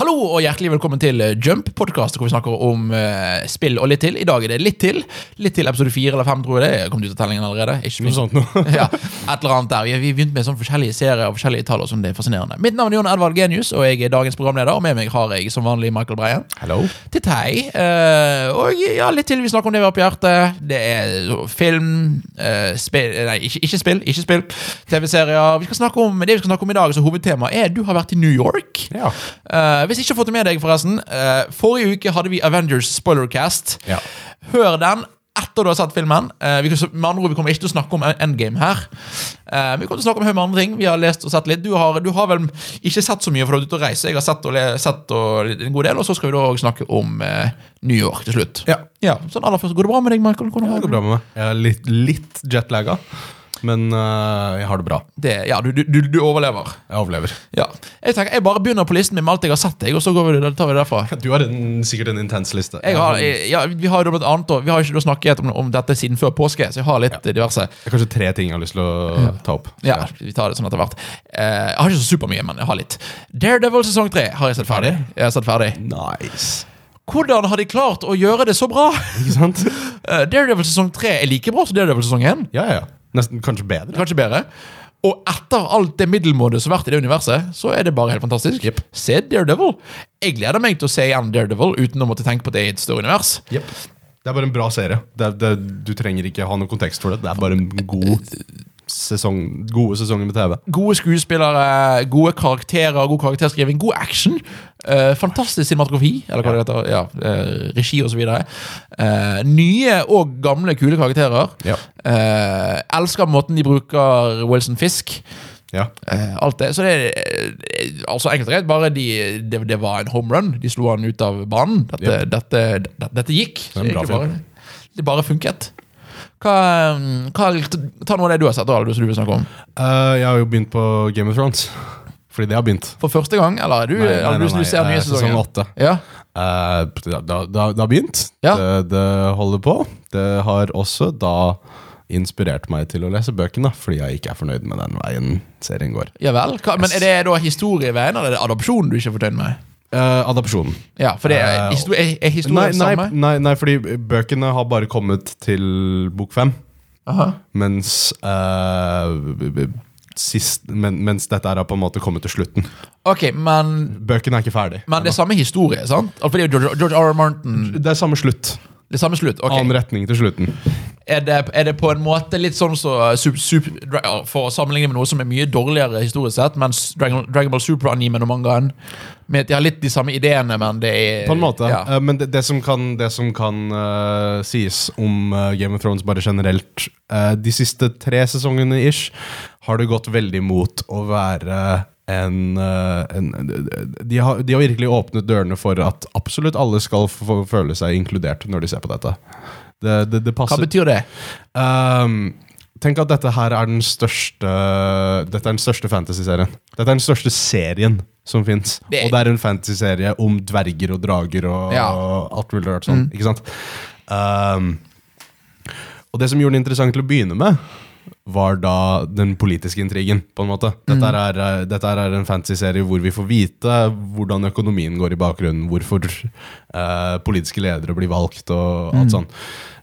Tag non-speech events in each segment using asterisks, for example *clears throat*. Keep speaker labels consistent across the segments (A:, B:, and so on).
A: Hallo og hjertelig velkommen til Jump-podkast, hvor vi snakker om eh, spill og litt til. I dag er det litt til. Litt til episode fire eller fem, tror jeg det er. Kom ut av tellingen allerede? Ikke
B: Noe sånt noe.
A: *laughs* ja, et eller annet der. Vi- Vi begynte med sånn forskjellige serier og forskjellige tall. og sånn, det er fascinerende. Mitt navn er Jon Edvard Genius, og jeg er dagens programleder. Og med meg har jeg som vanlig Michael Breien.
B: Hello.
A: Til Tei. eh, og ja, litt til vi snakker om det vi har på hjertet. Det er film, eh, spill Nei, ikke, ikke spill. ikke spill, TV-serier. Vi skal snakke om, Det vi skal snakke om i dag, så hovedtemaet er du har vært i New York.
B: Ja.
A: Eh, hvis ikke har fått det med deg, forresten. eh, forrige uke hadde vi Avengers spoilercast.
B: Ja.
A: Hør den etter du har sett filmen. Eh, vi, kan- med andre ord, vi kommer ikke til å snakke om Endgame her. Eh, men vi kommer til å snakke om høy med andre ting. Vi har lest og sett litt. Du har, du har vel ikke sett så mye, for du er ute og reiser. Jeg har sett, og, le- sett og, litt- en god del. Og så skal vi da også snakke om eh, New York til slutt.
B: Ja.
A: sånn aller først, Går det bra med deg, Michael? Hvordan
B: Det
A: har
B: går
A: du
B: bra med meg. Jeg er litt, litt jetlagga, men eh, jeg har det bra.
A: det? Ja, du, du, du, du overlever.
B: Jeg overlever.
A: Ja. Jeg tenker, jeg bare begynner på listen min med alt jeg har sett, jeg, og så går vi, da tar vi det derfra.
B: Du har en, sikkert en intens liste.
A: Jeg har, jeg, ja, vi har jo blant annet da- Vi har jo ikke da snakket om, om dette siden før påske, så jeg har litt eh, diverse.
B: Det er kanskje tre ting jeg har lyst til å ta opp.
A: Ja, vi tar det sånn etter hvert. Eh, jeg har ikke så supermye, men jeg har litt. Daredevil sesong tre har jeg sett ferdig. Jeg har sett ferdig.
B: Nice.
A: Hvordan har de klart å gjøre det så bra? *laughs*
B: Ikke *laughs* sant?
A: Eh, Daredevil sesong tre er like bra som Daredevil sesong én.
B: Ja, ja. ja. Nesten kanskje bedre.
A: Kanskje bedre. Og etter alt det middelmådige som har vært i det universet, så er det bare helt fantastisk.
B: Jep.
A: Se Daredevil. Jeg gleder meg til å se igjen Daredevil uten å måtte tenke på det i et større univers.
B: Jep. Det er bare en bra serie. Det er, det, du trenger ikke ha noen kontekst for det. Det er bare en god sesong, gode sesonger med TV.
A: Gode skuespillere, gode karakterer, god karakterskriving, god action. eh, fantastisk cinematografi, eller hva det heter. Ja, eh, regi osv. Uh, nye og gamle, kule karakterer.
B: Ja.
A: Eh, elsker måten de bruker Wilson Fisk.
B: Ja.
A: eh, alt det. Så det er eh, altså enkelt og greit bare de, det, det var en home run. De slo han ut av banen. Dette,
B: Ja.
A: dette, dette, dette gikk. Så
B: er en bra
A: egentlig
B: film.
A: bare, det bare funket. Hva, mm, hva, ta noe av det du har sett, Aldo, som du vil snakke om.
B: Eh, jeg har jo begynt på Game of Thrones. Fordi det har begynt.
A: For første gang, eller er du,
B: Nei, nei,
A: eller
B: nei,
A: du-
B: nei,
A: du ser
B: eh,
A: nye
B: sesong
A: sesonger?
B: åtte.
A: Ja.
B: Eh, det, det, det, det har begynt.
A: Ja.
B: Det, det holder på. Det har også da inspirert meg til å lese bøkene, fordi jeg ikke er fornøyd med den veien serien går.
A: ja vel. Hva, men er det da historieveien, eller er det adopsjonen du ikke er fornøyd med?
B: Eh, adopsjonen.
A: Ja, for det er,
B: Eh,
A: histor er, er
B: Nei,
A: historien
B: nei,
A: samme?
B: nei, nei, fordi bøkene har bare kommet til bok fem.
A: Aha.
B: Mens, eh, b- b- sist, men, mens dette her har på en måte kommet til slutten.
A: Ok, men,
B: Bøkene er ikke ferdig.
A: men det er samme historie, sant? Altså, For det er jo George, George R. R. Martin.
B: Det er samme slutt.
A: Det er samme slutt. ok.
B: Annen retning til slutten.
A: Er, det, er det på en måte litt sånn så, sup, sup, dra- ja, For å sammenligne med noe som er mye dårligere historisk sett, mens Dragon, Dragon Ball Super-animen og mangaen med, at De har litt de samme ideene, men det er
B: På en måte.
A: Ja.
B: Eh, men det, det som kan, det som kan eh, sies om eh, Game of Thrones bare generelt eh, De siste tre sesongene ish har det gått veldig mot å være en, eh, en de, har, de har virkelig åpnet dørene for at absolutt alle skal få føle seg inkludert når de ser på dette. Det, det, det
A: Hva
B: passer
A: betyr det?
B: Ehm, Tenk at dette her er den største Dette er den største fantasy-serien. Dette er den største serien som fins.
A: Det-
B: Og det er en fantasy-serie om dverger og drager og,
A: Ja.
B: og alt mulig rart sånn. Ikke sant? Ehm, og det som gjorde den interessant til å begynne med, var da den politiske intrigen, på en måte. Dette, her er, eh, dette her er en fantasy-serie hvor vi får vite hvordan økonomien går i bakgrunnen, hvorfor eh, politiske ledere blir valgt og alt sånn.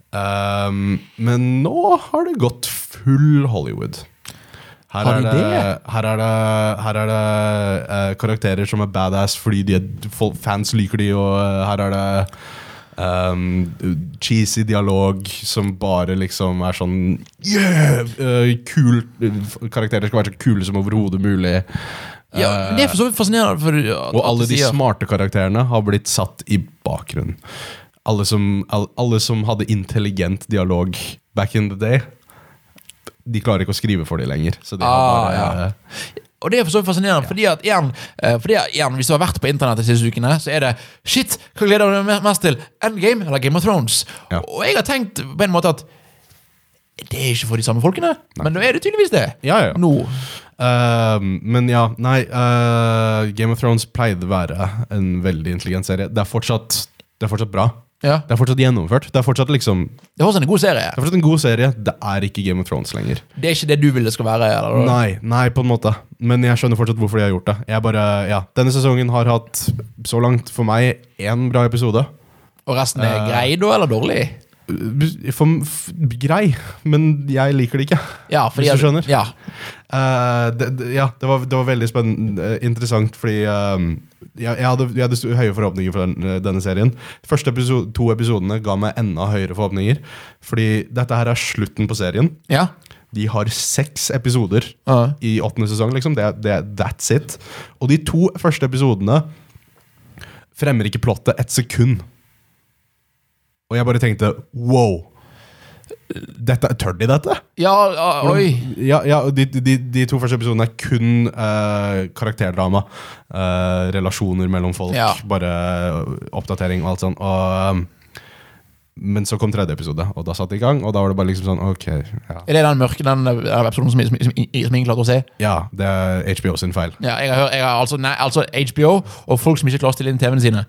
B: Um, men nå har det gått full Hollywood. Her
A: Har
B: er
A: de
B: det, her er det, her er det eh, karakterer som er badass fordi de, er- folk- fans liker de, og eh, her er det Um, cheesy dialog som bare liksom er sånn Yeah! eh, kul, karakterer skal være så kule som overhodet mulig.
A: Ja,
B: Eh,
A: det er for så vidt fascinerende. For, at-
B: og
A: at
B: alle
A: du
B: de
A: sier-
B: smarte karakterene har blitt satt i bakgrunnen. Alle som, all, alle som hadde intelligent dialog back in the day, de klarer ikke å skrive for de lenger. Så de
A: Ah,
B: har bare, eh,
A: ja. Og det er for så vidt fascinerende, fordi at igjen, eh, fordi at igjen hvis du har vært på internett de siste ukene, så er det Shit, hva gleder du deg mest til? Endgame eller Game of Thrones?
B: Ja.
A: Og jeg har tenkt på en måte at det er ikke for de samme folkene, men nå er det tydeligvis det.
B: Ja, ja, ja.
A: Nå.
B: Eh, men ja, nei eh, Game of Thrones pleide å være en veldig intelligent serie. Det er fortsatt, det er fortsatt bra.
A: Ja.
B: Det er fortsatt gjennomført. Det er fortsatt, liksom, det
A: Det er fortsatt en god serie.
B: er fortsatt en god serie. Det er ikke Game of Thrones lenger.
A: Det er ikke det du vil det skal være? Eller?
B: Nei, nei, på en måte. Men jeg skjønner fortsatt hvorfor de har gjort det. Jeg bare, ja, Denne sesongen har hatt, så langt for meg, én bra episode.
A: Og resten er
B: Eh.
A: grei, da, eller dårlig?
B: For, f, grei, men jeg liker det ikke.
A: Ja, fordi
B: Hvis du
A: at-
B: skjønner.
A: Ja.
B: Eh, det, det, ja, det var, det var veldig spennende eh, interessant, fordi eh, jeg, jeg, hadde, jeg hadde sto- høye forhåpninger for den, eh, denne serien. første episode, to episodene ga meg enda høyere forhåpninger, fordi dette her er slutten på serien.
A: ja.
B: De har seks episoder
A: Ja.
B: i åttende sesong, liksom. Det, er- det, er- that's it. Og de to første episodene fremmer ikke plottet et sekund. Og jeg bare tenkte wow! Dette, tør de dette?
A: Ja, ja, oi.
B: Ja, ja og de, de, de to første episodene er kun eh, karakterdrama. Eh, relasjoner mellom folk,
A: Ja.
B: bare eh, oppdatering og alt sånt. Og, ehm, men så kom tredje episode, og da satt de i gang. Og da var det bare liksom sånn Ok, ja,
A: Er det den mørke den eh, episoden som, som, som, som ingen klarte å se?
B: ja det er HBO sin feil.
A: Ja, jeg har, hørt- jeg har altså, nei, altså HBO og folk som ikke klarer å stille inn TV-ene sine.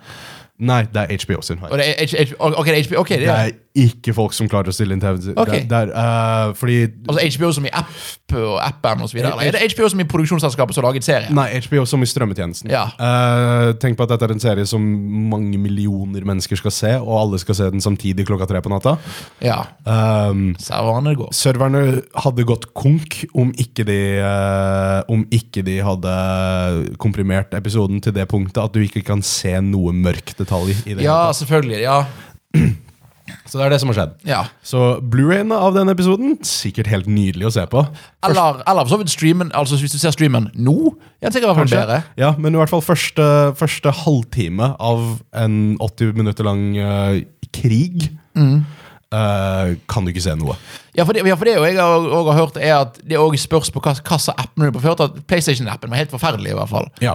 B: Nei, det er HBO sin
A: Og
B: feil.
A: det er H- H- ok, det er HBO, ok, det
B: Det
A: er,
B: er ikke folk som klarer å stille inn TV.
A: Ok.
B: Det, det er, eh, fordi
A: altså HBO som i app og appen og så videre. Eller er det HBO som i produksjonsselskapet som har laget serien?
B: Nei, HBO som i strømmetjenesten.
A: Ja.
B: Eh, tenk på at dette er en serie som mange millioner mennesker skal se, og alle skal se den samtidig klokka tre på natta.
A: Ja,
B: Um,
A: serverne går.
B: serverne hadde gått konk om ikke, de, eh, om ikke de hadde komprimert episoden til det punktet at du ikke kan se noe mørk detalj. I det.
A: Ja, selvfølgelig. Ja.
B: Så det er det som har skjedd.
A: ja.
B: Så Blu-rayene av den episoden sikkert helt nydelig å se på.
A: Eller, eller for så vidt streamen, altså hvis du ser streamen nå, er den sikkert i hvert fall bedre.
B: Ja, men i hvert fall første, første halvtime av en 80 minutter lang eh, krig eh, kan du ikke se noe.
A: Ja, for det, ja, for det jo jeg har, og har hørt, er at det òg spørs på hva hva slags app du på. For jeg har hørt at PlayStation-appen var helt forferdelig, i hvert fall.
B: Ja,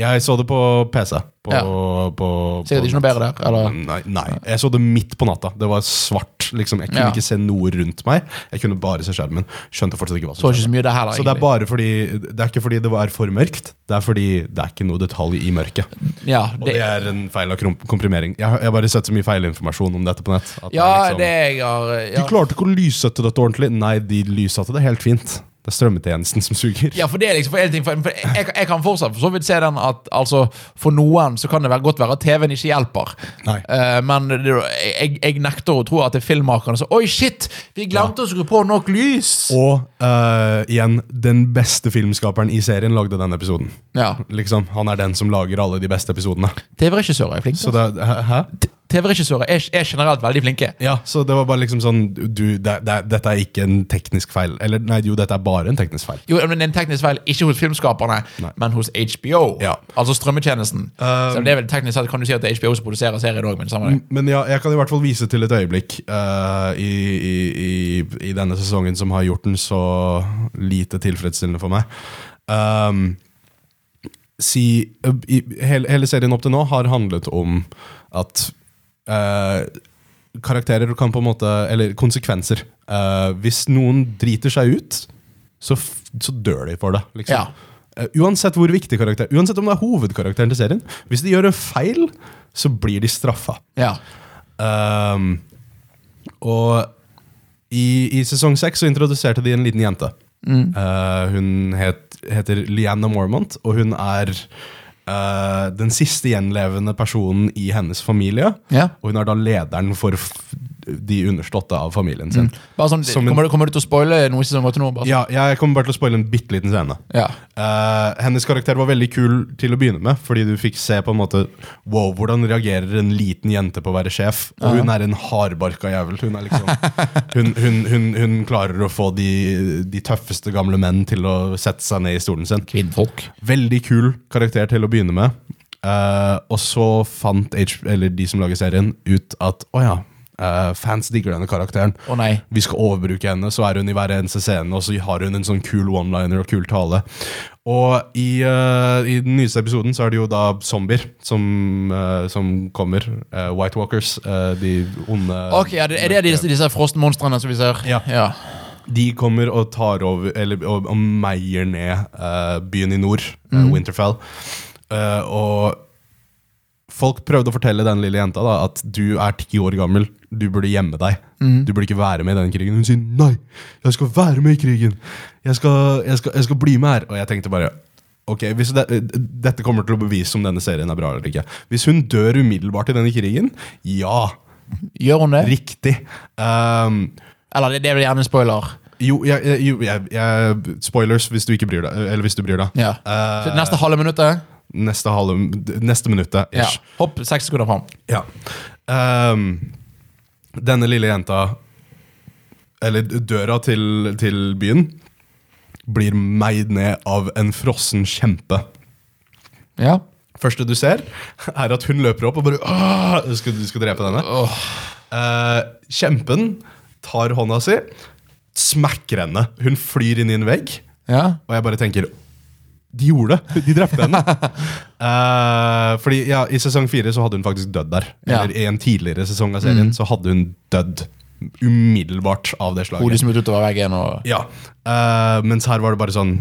B: jeg så det på PC. På,
A: Ja.
B: på,
A: Sikkert
B: på
A: ikke noe bedre der. Eller?
B: Nei, nei, jeg så det midt på natta. Det var svart. liksom Jeg kunne
A: Ja.
B: ikke se noe rundt meg. Jeg kunne bare se skjermen. Skjønte fortsatt ikke hva
A: Så
B: som
A: ikke
B: skjedde.
A: så mye der heller,
B: Så det er
A: egentlig.
B: bare fordi Det er ikke fordi det var for mørkt, det er fordi det er ikke noe detalj i mørket.
A: Ja,
B: Og det,
A: det,
B: er en feil av krom- komprimering. Jeg har, jeg har bare sett så mye feilinformasjon om dette på nett. at
A: ja,
B: er liksom-
A: det jeg har ja.
B: De klarte ikke å lyssette dette ordentlig. Nei, de lyssatte det helt fint. Det er strømmetjenesten som suger.
A: Ja, for det er liksom for en ting, for, for jeg, jeg kan fortsatt for så vidt se den at altså, for noen så kan det være, godt være at TV-en ikke hjelper.
B: Nei.
A: Eh, men det, jeg, jeg nekter å tro at det er filmmakerne som Oi, shit! Vi glemte å skru på nok lys!
B: Og eh, igjen, den beste filmskaperen i serien lagde den episoden.
A: Ja.
B: Liksom, Han er den som lager alle de beste episodene.
A: TV-regissører er flinke.
B: Så det, hæ? hæ?
A: TV-regissører er, er generelt veldig flinke.
B: Ja, så det var bare liksom sånn du, det, det, Dette er ikke en teknisk feil. Eller nei, jo, dette er bare en teknisk feil.
A: Jo, men det er en teknisk feil, ikke hos filmskaperne,
B: Nei.
A: men hos HBO.
B: Ja. Um,
A: Altså strømmetjenesten. Så det er vel teknisk sett kan du si at det er HBO som produserer serien òg, men samme det.
B: Men ja, jeg kan i hvert fall vise til et øyeblikk eh, i, i, i, i denne sesongen som har gjort den så lite tilfredsstillende for meg. Um, si, eh, i, hele, hele serien opp til nå har handlet om at eh, karakterer kan på en måte Eller konsekvenser. Eh, hvis noen driter seg ut, så, f så dør de for det. Liksom.
A: Ja.
B: Eh, uansett hvor viktig karakter Uansett om det er hovedkarakteren til serien. Hvis de gjør en feil, så blir de straffa.
A: Ja.
B: Ehm, og i, i sesong seks så introduserte de en liten jente. Eh, hun het, heter Lianna Mormont, og hun er eh, den siste gjenlevende personen i hennes familie.
A: Ja.
B: Og hun er da lederen for f de underståtte av familien sin.
A: Bare sånn,
B: Som en-
A: kommer, du, kommer du til å spoile noe som går til nå? Bare?
B: Ja, jeg kommer bare til å spoile en bitte liten scene.
A: Ja.
B: Eh, hennes karakter var veldig kul til å begynne med, fordi du fikk se på en måte Wow, hvordan reagerer en liten jente på å være sjef? Og hun er en hardbarka jævel. Hun, er liksom, hun, hun, hun, hun klarer å få de, de tøffeste gamle menn til å sette seg ned i stolen sin.
A: sånn, Kvinnfolk.
B: Veldig kul karakter til å begynne med. Eh, og så fant H eller de som lager serien ut at å ja, eh, fans digger denne karakteren.
A: Å nei.
B: Vi skal overbruke henne, så er hun i hver eneste scene, og så har hun en sånn kul one-liner og kul tale. Og i, eh, i den nyeste episoden så er det jo da zombier som, eh, som kommer. Eh, White Walkers, eh, de onde
A: Ok, ja, det, Er det disse, disse frostmonstrene som vi ser?
B: Ja.
A: ja.
B: De kommer og tar over Eller og, og meier ned eh, byen i nord, eh, Winterfell. Eh, og folk prøvde å fortelle den lille jenta da, at du er ti år gammel, du burde gjemme deg. Du burde ikke være med i den krigen. Hun sier nei, jeg skal være med i krigen. Jeg skal, jeg skal, jeg skal bli med her. Og jeg tenkte bare Ok, hvis det, Dette kommer til å bevise om denne serien er bra eller ikke. Hvis hun dør umiddelbart i denne krigen, ja,
A: Gjør hun det?
B: riktig. Ehm,
A: Eller det, det er vel gjerne en spoiler.
B: jo, jeg, jeg, jo jeg, jeg, spoilers hvis du ikke bryr deg. Eller hvis du bryr deg.
A: Ja.
B: Eh,
A: Så neste halve minuttet,
B: neste, halve, neste minuttet.
A: ja.
B: Ish.
A: hopp seks sekunder fram.
B: Ja. Ehm, denne lille jenta Eller døra til, til byen blir meid ned av en frossen kjempe.
A: Ja.
B: Første du ser, er at hun løper opp og bare Åh! Du skal, du skal drepe denne. Eh, kjempen tar hånda si, smekker henne. Hun flyr inn i en vegg,
A: ja.
B: og jeg bare tenker De gjorde det! De drepte
A: *laughs*
B: henne. Eh, fordi ja, I sesong fire så hadde hun faktisk dødd der.
A: Ja. Mm.
B: Eller I en tidligere sesong av serien så hadde hun dødd umiddelbart av det slaget.
A: Hodet smutt liksom utover veggen og
B: Ja, eh, mens her var det bare sånn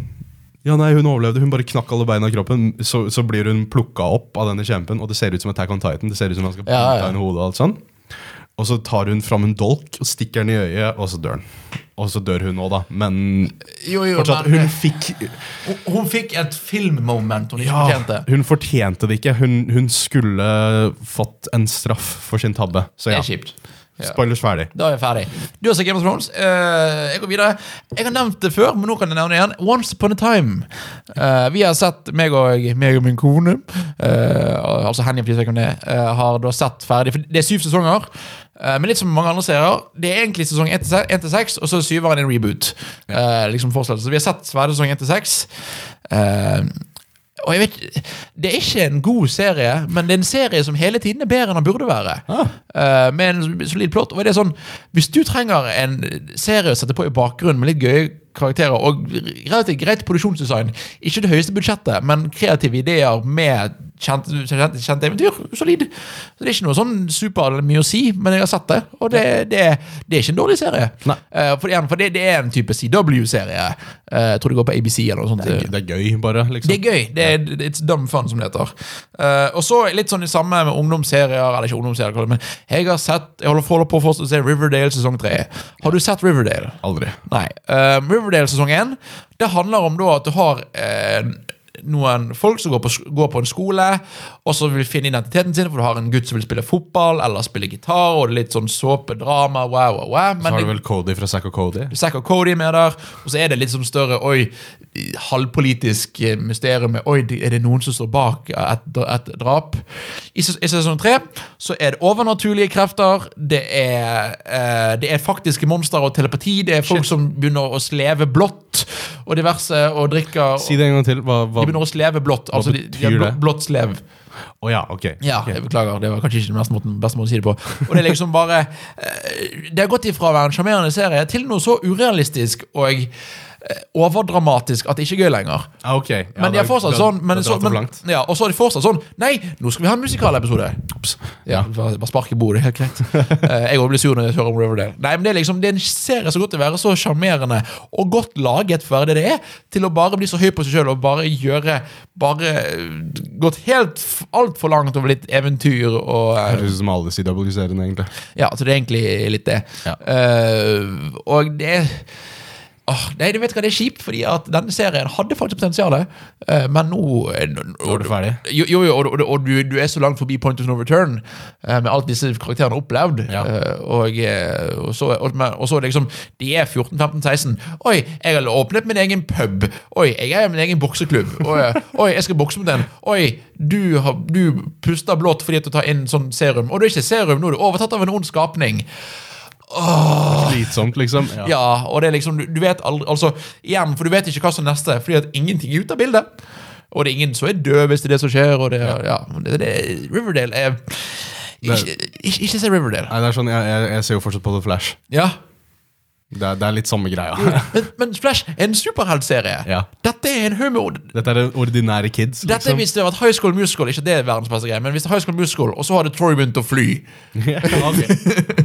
B: Ja, nei, hun overlevde. Hun bare knakk alle beina i kroppen. Så, så blir hun plukka opp av denne kjempen, og det ser ut som Attack on Titan. Det ser ut som han skal
A: Ja,
B: bite
A: ja.
B: henne i hodet Og alt sånn. Og så tar hun fram en dolk og stikker den i øyet, og så dør han. Og så dør hun òg, da. Men
A: Jo, jo,
B: fortsatt,
A: men eh,
B: hun fikk
A: hun, hun fikk et filmmoment hun ikke
B: ja,
A: fortjente.
B: Ah, Hun fortjente det ikke. Hun, hun skulle fått en straff for sin tabbe. Så
A: Det
B: ja.
A: er kjipt. Ja.
B: Spoilers ferdig.
A: Da er vi ferdig. Du har sett Game of Thrones. Eh, jeg går videre. Jeg har nevnt det før, men nå kan jeg nevne det igjen. Once upon a time. Eh, vi har sett, meg og, meg og min kone, eh, altså Henny, please, jeg kan det, eh, har da sett ferdig For det er syv sesonger. eh, men litt som mange andre serier, det er egentlig sesong én til se- én til seks, og så er syveren en reboot. Eh, liksom fortsettelse. Så vi har sett ferdig sesong én til seks. Eh, og jeg vet, Det er ikke en god serie, men det er en serie som hele tiden er bedre enn den burde være. Eh, med en solid plott. Og det er sånn, Hvis du trenger en serie å sette på i bakgrunnen med litt gøye karakterer og relativt greit produksjonsdesign, ikke det høyeste budsjettet, men kreative ideer med kjent, kjent, kjent eventyr, solid. Så Det er ikke noe sånn super mye å si, men jeg har sett det, og det, det, det er ikke en dårlig serie.
B: Nei.
A: Eh, for, igjen, for det, det er en type CW-serie. Eh, jeg tror det går på ABC eller noe sånt.
B: Det er, det er gøy, bare. liksom
A: Det er gøy. Det er, det- it's dumb fun, som det heter. Eh, og så litt sånn det samme med ungdomsserier. Eller ikke ungdomsserier, kall det, men jeg har sett Jeg holder holder på fortsatt å se Riverdale sesong tre. Har du sett Riverdale?
B: Aldri.
A: Nei. Eh, Riverdale sesong 1 Det handler om da at du har eh, noen folk som går på, sk- går på en skole, og så vil finne identiteten sin, for du har en gutt som vil spille fotball eller spille gitar, og det er litt sånn såpedrama. Wow, wow, wow.
B: Så
A: Men
B: har du
A: det-
B: vel Cody fra Zack og Cody.
A: Zack og Cody er med der, og så er det litt sånn større oi, halvpolitisk eh, mysterium med oi, er det noen som står bak et, et drap? I, ses- I sesong tre så er det overnaturlige krefter, det er, eh, det er faktiske monstre og telepati, det er folk som begynner å sleve blått og diverse, og drikker
B: Si det en gang til. Hva, hva?
A: De begynner å sleve blått. Altså, de, de har
B: betyr
A: blå,
B: det?
A: blått slev.
B: Å ja, ok.
A: Ja,
B: Ok.
A: jeg beklager. Det var kanskje ikke den beste måten, beste måten å si det på. Og det er liksom bare eh, Det har gått ifra å være en sjarmerende serie til noe så urealistisk og eh, overdramatisk at det ikke er gøy lenger.
B: Ah, ok. Ja,
A: Men de
B: da-
A: er fortsatt
B: da-
A: sånn
B: da
A: men,
B: dratt
A: så,
B: det for
A: men,
B: langt.
A: ja, Og så er de fortsatt sånn Nei, nå skal vi ha en musikalepisode! Ops. Ja, bare bare spark i bordet. Helt greit.
B: *laughs*
A: Eh, jeg òg blir sur når jeg hører om Riverdale. Nei, men Det er liksom Det er en serie som godt til å være så sjarmerende og godt laget for det det er, til å bare bli så høy på seg sjøl og bare gjøre Bare eh, gått helt f- altfor langt over litt eventyr og eh,
B: Høres ut som alle CW-seriene, egentlig.
A: ja, så det er egentlig litt det.
B: Ja.
A: Eh, og det Åh, nei, du vet hva, det er kjipt, fordi at denne serien hadde faktisk potensial, eh, men nå
B: Nå er du ferdig.
A: Jo, jo, jo, og, og, og du, du er så langt forbi point of no return eh, med alt disse karakterene har opplevd.
B: Ja.
A: eh, og, eh, og, så, og, men- og så liksom De er 14-15-16. Oi, jeg har åpnet min egen pub. Oi, jeg er i min egen bokseklubb. Oi, oi, jeg skal bokse mot den. Oi, du, har, du puster blått fordi at du tar inn sånn serum. Og det er ikke serum nå, du er overtatt av en ond skapning.
B: Slitsomt, liksom. Ja.
A: Ja, og det er liksom, du, du vet aldri, altså, igjen, for du vet ikke hva som er neste, fordi at ingenting er ute av bildet. Og det er ingen som er død hvis det er det som skjer, og det, er- ja, det, det, Riverdale er ikke, ikke, ikke se Riverdale.
B: Nei, det er sånn, jeg, jeg, jeg ser jo fortsatt på The Flash.
A: Ja.
B: Det er, det er litt samme greia.
A: Men, men Flash er en superheltserie.
B: Ja.
A: Dette er en humor...
B: *laughs* Dette er ordinære kids,
A: Dette
B: liksom.
A: hvis det var et High School Musical, ikke det er verdens beste greie, men hvis det er High School Musical, og så hadde Troy begynt å fly.
B: *laughs* Ja, ok.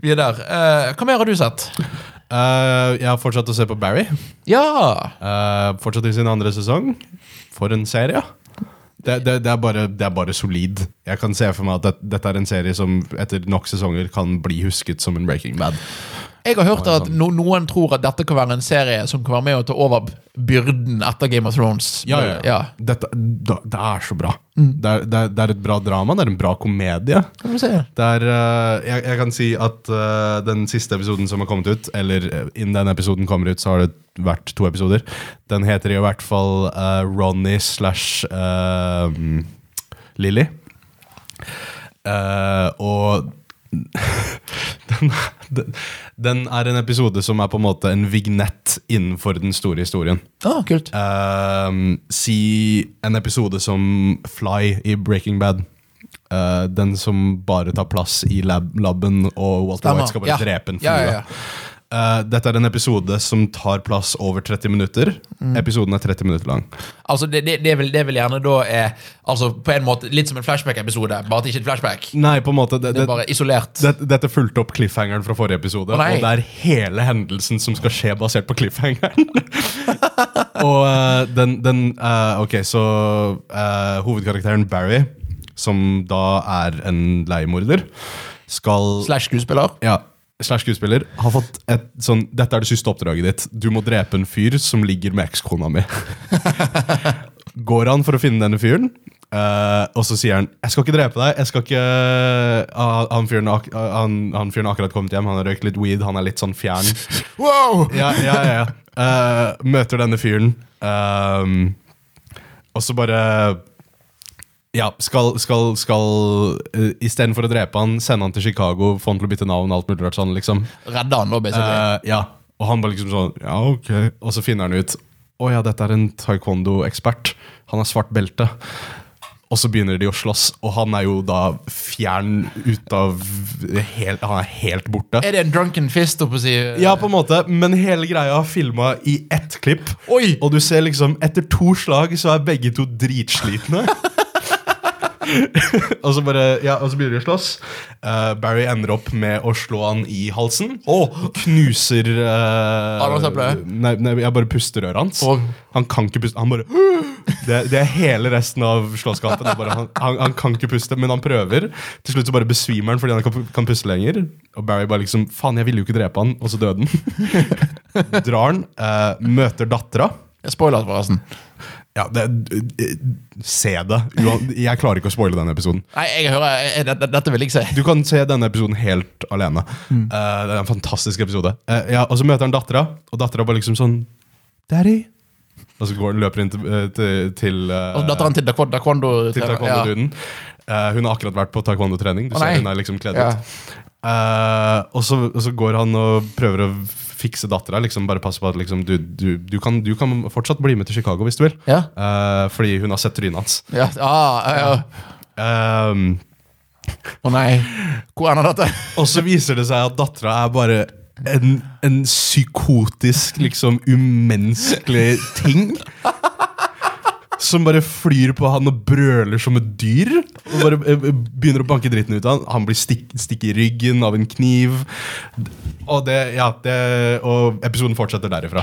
A: Vi er der. Eh, hva mer har du sett?
B: Eh, jeg har fortsatt å se på Barry.
A: Ja!
B: Eh, fortsatt i sin andre sesong. For en serie. Det, det, det, er bare, det er bare solid. Jeg kan se for meg at det, dette er en serie som etter nok sesonger kan bli husket som en Breaking Bad.
A: Jeg har hørt
B: sånn.
A: at no, noen tror at dette kan være en serie som kan være med å ta over byrden etter Game of Thrones.
B: Dette, da, det er så bra. Det, er, det, er, det er et bra drama, det er en bra komedie.
A: Kan du se.
B: Det er, eh, jeg, jeg kan si at eh, den siste episoden som har kommet ut, eller eh, innen den episoden kommer ut, så har det vært to episoder. Den heter i hvert fall eh, Ronny slash eh, Lily. Eh, og *laughs* den, den, den er en episode som er på en måte en vignett innenfor den store historien.
A: Ah, kult.
B: Ehm, si en episode som Fly i Breaking Bad. Eh, den som bare tar plass i lab laben, og Walter
A: Stemmer.
B: White skal bare
A: Ja.
B: drepe en flue.
A: Ja, ja, ja.
B: Eh, dette er en episode som tar plass over 30 minutter.
A: Mm.
B: Episoden er 30 minutter lang.
A: Altså, det, det, det, vil, det vil gjerne da er altså, på en måte litt som en flashback-episode, bare at det ikke er et flashback.
B: Nei, på en måte det,
A: Det
B: det,
A: er bare isolert.
B: det, Dette fulgte opp cliffhangeren fra forrige episode,
A: Å, nei.
B: og det er hele hendelsen som skal skje basert på cliffhangeren. *laughs* og eh, den, den eh, Ok, så eh, hovedkarakteren Barry, som da er en leiemorder, skal
A: Slash skuespiller.
B: ja, slash skuespiller, har fått et sånn Dette er det siste oppdraget ditt. Du må drepe en fyr som ligger med ekskona mi. Går han for å finne denne fyren, eh, og så sier han 'Jeg skal ikke drepe deg'. Jeg skal ikke Ah, han, fyren, har ak- han, han fyren har akkurat kommet hjem, han har røykt litt weed, han er litt sånn fjern.
A: Wow!
B: Ja, ja, ja, ja. Eh, Møter denne fyren, ehm, og så bare ja, skal, skal, skal uh, Istedenfor å drepe han, sende han til Chicago, få han til å bytte navn. alt mulig rart sånn, liksom.
A: Redda han da, basically.
B: Eh, ja. Og han bare liksom sånn Ja, ok. Og så finner han ut Å ja, dette er en taekwondo-ekspert. Han har svart belte. Og så begynner de å slåss, og han er jo da fjern ut av helt, Han er helt borte.
A: er det en drunken fist, holdt på å si?
B: Ja, på en måte, men hele greia er filma i ett klipp.
A: Oi!
B: Og du ser liksom, etter to slag så er begge to dritslitne. *laughs* og så bare, ja, og så begynner de å slåss. Eh, Barry ender opp med å slå han i halsen. Og knuser eh,
A: Adamseplet?
B: Nei, nei, jeg bare puster øret hans.
A: Åh.
B: Han kan ikke puste. Han bare *gasps* Det, det er hele resten av slåsskampen. det er bare Han, han, han kan ikke puste, men han prøver. Til slutt så bare besvimer han fordi han ikke kan, kan puste lenger. Og Barry bare liksom Faen, jeg ville jo ikke drepe han. Og så døde han. *laughs* Drar han. eh, møter dattera.
A: Spoiler, forresten.
B: Ja, det, eh, se det. Uan- Jeg klarer ikke å spoile den episoden.
A: Nei, jeg hører jeg, det- det- Dette vil jeg ikke si.
B: Du kan se denne episoden helt alene. Eh, det er en fantastisk episode. Eh, ja, og så møter han dattera, og dattera bare liksom sånn Daddy. Og så går, løper hun til, eh, til, til eh,
A: Altså, Datteren til Dakwondo.
B: til taekwondo-duden. Eh, hun har akkurat vært på taekwondo-trening. Du
A: Å,
B: ser
A: nei.
B: hun er liksom kledd
A: Ja.
B: ut. Eh, og, så, og så går han og prøver å fikse dattera. Liksom bare passe på at liksom, du, du, du, kan, du kan fortsatt bli med til Chicago hvis du vil.
A: Ja.
B: Eh, fordi hun har sett trynet hans.
A: Ja. Ah, ja, ja.
B: Eh,
A: Å nei. Hvor ender
B: *laughs*
A: dette?
B: Og så viser det seg at dattera er bare en, en psykotisk, liksom umenneskelig ting. Som bare flyr på han og brøler som et dyr. Og bare eh, begynner å banke dritten ut av han Han blir stikk, stikk i ryggen av en kniv. Og, det, ja, det, og episoden fortsetter derifra.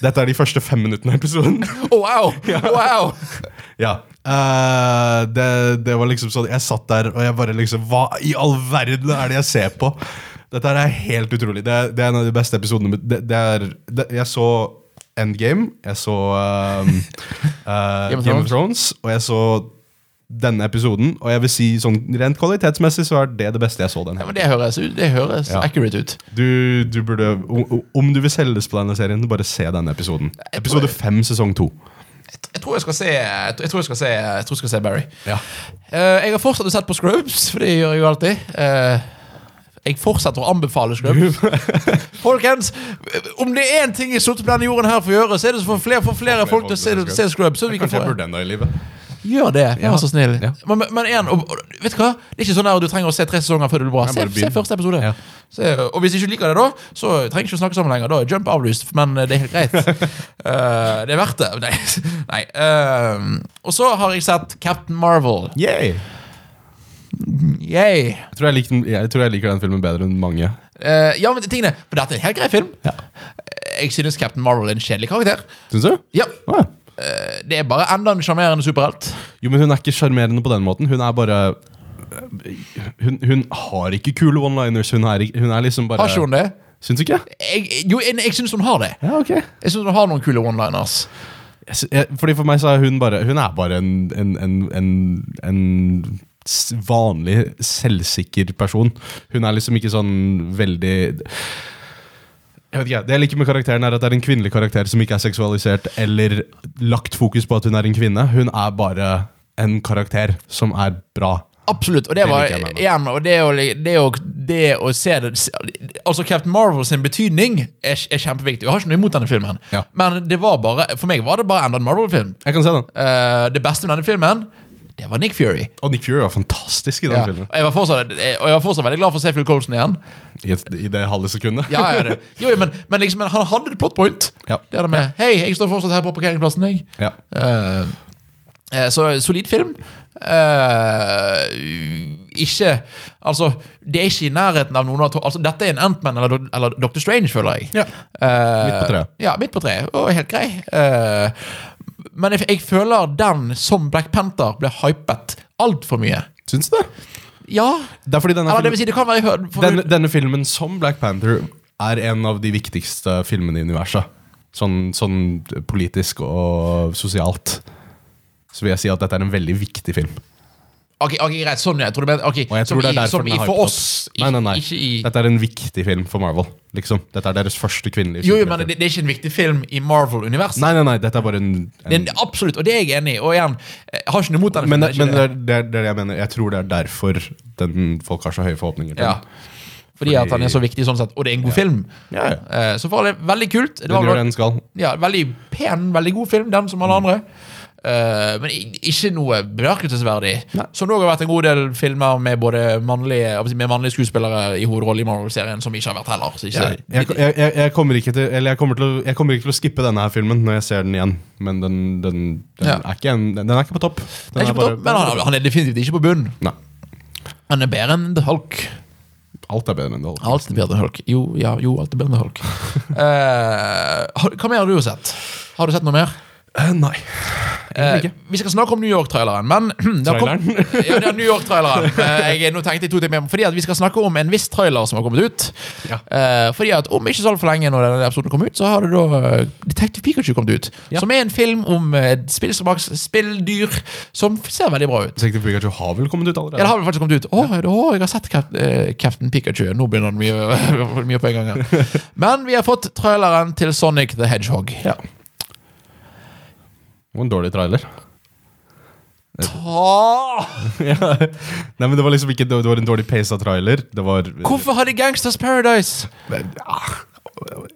B: Dette er de første fem minuttene av episoden.
A: Å, wow! wow!
B: *laughs* Ja. Eh, det, det var liksom sånn Jeg satt der og jeg bare liksom Hva i all verden er det jeg ser på? Dette her er helt utrolig. Det, det er en av de beste episodene. men Det, det er, det, jeg så Endgame, jeg så
A: *laughs*
B: ehm, eh,
A: Game of
B: Game of Thrones, og jeg så denne episoden. Og jeg vil si sånn rent kvalitetsmessig så er det det beste jeg så den
A: Ja,
B: her.
A: men det høres, ut- det høres
B: Ja.
A: accurate ut.
B: Du, du burde, o- o- om du vil selges på denne serien, bare se denne episoden.
A: Jeg tror-
B: Episode fem, sesong to.
A: Jeg tror jeg skal se, jeg tror jeg skal se, jeg tror jeg skal se Barry.
B: Ja.
A: Eh, jeg har fortsatt å sett på Scrubs, for det gjør jeg jo alltid. Eh, jeg fortsetter å anbefale Scrubs. Folkens, om det er én ting jeg slutter på denne jorden her for å gjøre, så er det så for flere, for flere folk til å se, se Scrubs. Så vi kan
B: Kanskje
A: få,
B: jeg burde enda i livet.
A: gjør det, vær
B: Ja.
A: så snill.
B: Ja.
A: Men, men- men igjen, og, og, vet du hva? Det er ikke sånn her, du trenger å se tre sesonger før det blir bra.
B: Nei,
A: Se,
B: bare begynn.
A: se første episode.
B: Ja.
A: Se, og hvis ikke du liker det, da, så trenger du ikke å snakke sammen lenger. Da er jump avlyst, men eh, det er helt
B: *laughs*
A: greit. Eh, det er verdt det. *laughs* Nei. Nei. eh, og så har jeg sett Captain Marvel.
B: Yay!
A: Yay!
B: Jeg tror jeg, liker den, jeg tror jeg liker den filmen bedre enn mange.
A: Eh, ja, men tingene For dette er en helt grei film. Jeg synes Captain Marvel er en kjedelig karakter.
B: Syns du?
A: Ja,
B: Ah,
A: eh, det er bare enda en sjarmerende superhelt.
B: Jo, men hun er ikke sjarmerende på den måten. Hun er bare Hun, hun har ikke kule one-liners. Hun, er ikke- hun er liksom bare
A: Har ikke hun det?
B: Syns du ikke?
A: Jeg, jo, jeg, jeg syns hun har det.
B: Ja, ok.
A: Jeg syns hun har noen kule one-liners.
B: Jeg sy- jeg- Fordi For meg så er hun bare Hun er bare en, en, en, en, en s- vanlig, selvsikker person. Hun er liksom ikke sånn veldig jeg vet ikke, Det jeg liker med karakteren, er at det er en kvinnelig karakter som ikke er seksualisert eller lagt fokus på at hun er en kvinne. Hun er bare en karakter som er bra.
A: Absolutt. Og det
B: Det
A: var
B: liker jeg med meg.
A: igjen og det, å, det, å, det å se det Altså, Captain Marvel sin betydning er, er kjempeviktig. Jeg har ikke noe imot denne filmen,
B: Ja.
A: men det var bare, for meg var det bare enda en Marvel-film.
B: Jeg kan se den.
A: Eh, det beste med denne filmen, det var Nick Fury.
B: Og Nick Fury var fantastisk i den
A: Ja. Og
B: filmen.
A: jeg var fortsatt, eh, og jeg var fortsatt veldig glad for å se Phil Colson igjen.
B: I, et, I det halve sekundet.
A: Ja, ja, det. Jo, men, men, liksom, men han hadde et plot point.
B: Ja.
A: Det er det med Hei, jeg står fortsatt her på parkeringsplassen, jeg.
B: Ja.
A: Eh, eh, så solid film. Eh, ikke Altså, det er ikke i nærheten av noen av to, altså, Dette er en Antman eller, Do- eller Dr. Strange, føler jeg.
B: Ja.
A: Eh,
B: Midt på treet.
A: Ja, midt på treet. Og helt grei. Eh, men jeg, jeg føler den, som Black Panther, ble hypet altfor mye.
B: Syns du det?
A: Ja.
B: Det er fordi denne
A: Eller det
B: filmen
A: vil si, det kan være for,
B: denne, denne filmen som Black Panther er en av de viktigste filmene i universet. Sånn, sånn politisk og sosialt. Så vil jeg si at dette er en veldig viktig film.
A: Ok, ok, greit, sånn ja. Jeg tror du mener, ok,
B: Og jeg
A: som
B: tror det er
A: i, som
B: derfor den
A: i
B: er
A: for
B: hypet
A: oss.
B: opp. Nei, nei, nei.
A: Ikke, ikke i,
B: Dette er en viktig film for Marvel. Liksom. Dette er deres første kvinnelige
A: jo, jo, men
B: superheltfilm.
A: det, det er ikke en viktig film i Marvel-universet.
B: Nei, nei, nei, dette er bare en, en
A: Den, absolutt, og det er jeg enig i. Og igjen, jeg har ikke noe imot den.
B: Men, det,
A: filmen,
B: men
A: ikke
B: det, er, det er det er det jeg mener. Jeg tror det er derfor den, folk har så høye forhåpninger til
A: ja.
B: den.
A: Fordi at han er så viktig sånn sett, og det er en god film.
B: Ja, ja.
A: Eh, Så for all del, veldig kult. Det
B: Den
A: var
B: gjør det den skal.
A: ja, veldig pen, veldig god film, den som alle andre. Eh, men i- ikke noe bemerkelsesverdig.
B: Nei.
A: Som det også har vært en god del filmer med både mannlige, med mannlige skuespillere i hovedrollen i Marvel-serien, som ikke har vært heller. Så ikke,
B: Jeg, jeg, jeg, jeg, kommer ikke til, eller jeg, kommer til å, jeg kommer ikke til å skippe denne her filmen når jeg ser den igjen. Men den, den, den,
A: Ja.
B: er, ikke en, den er ikke på topp. Den
A: Den er ikke på
B: bare-
A: topp, men han, han er definitivt ikke på bunn.
B: Nei.
A: Han er bedre enn The Hulk.
B: Alt er bedre enn det. holder.
A: Alt er bedre enn Hulk. Jo, ja, jo, alt er bedre enn
B: *laughs*
A: Hulk. Eh, har- hva mer har du sett? Har du sett noe mer?
B: Eh, nei.
A: Eh, vi skal snakke om New York-traileren, men *clears throat* det har kom- *laughs* ja, det er New York-traileren. Eh, jeg- nå tenkte jeg to ting mer, fordi at vi skal snakke om en viss trailer som har kommet ut.
B: Ja.
A: Eh, fordi at om ikke så altfor lenge når denne episoden kom ut, så har det da eh, Detective Pikachu kommet ut.
B: Ja.
A: Som er en film om eh, spillsmaks, spilldyr, som ser veldig bra ut.
B: Detective Pikachu har vel kommet ut allerede?
A: Ja, det har vel faktisk kommet ut. Å, er det- å, jeg har sett Cap eh, Captain Pikachu. Nå begynner det mye, *laughs* mye på en gang. her. Men vi har fått traileren til Sonic the Hedgehog.
B: Ja. Det var en dårlig trailer. *laughs*
A: Ta!
B: Ja. Nei, men Det var liksom ikke Det var en dårlig paced trailer. Det var Ah,
A: Hvorfor hadde Gangsters Paradise?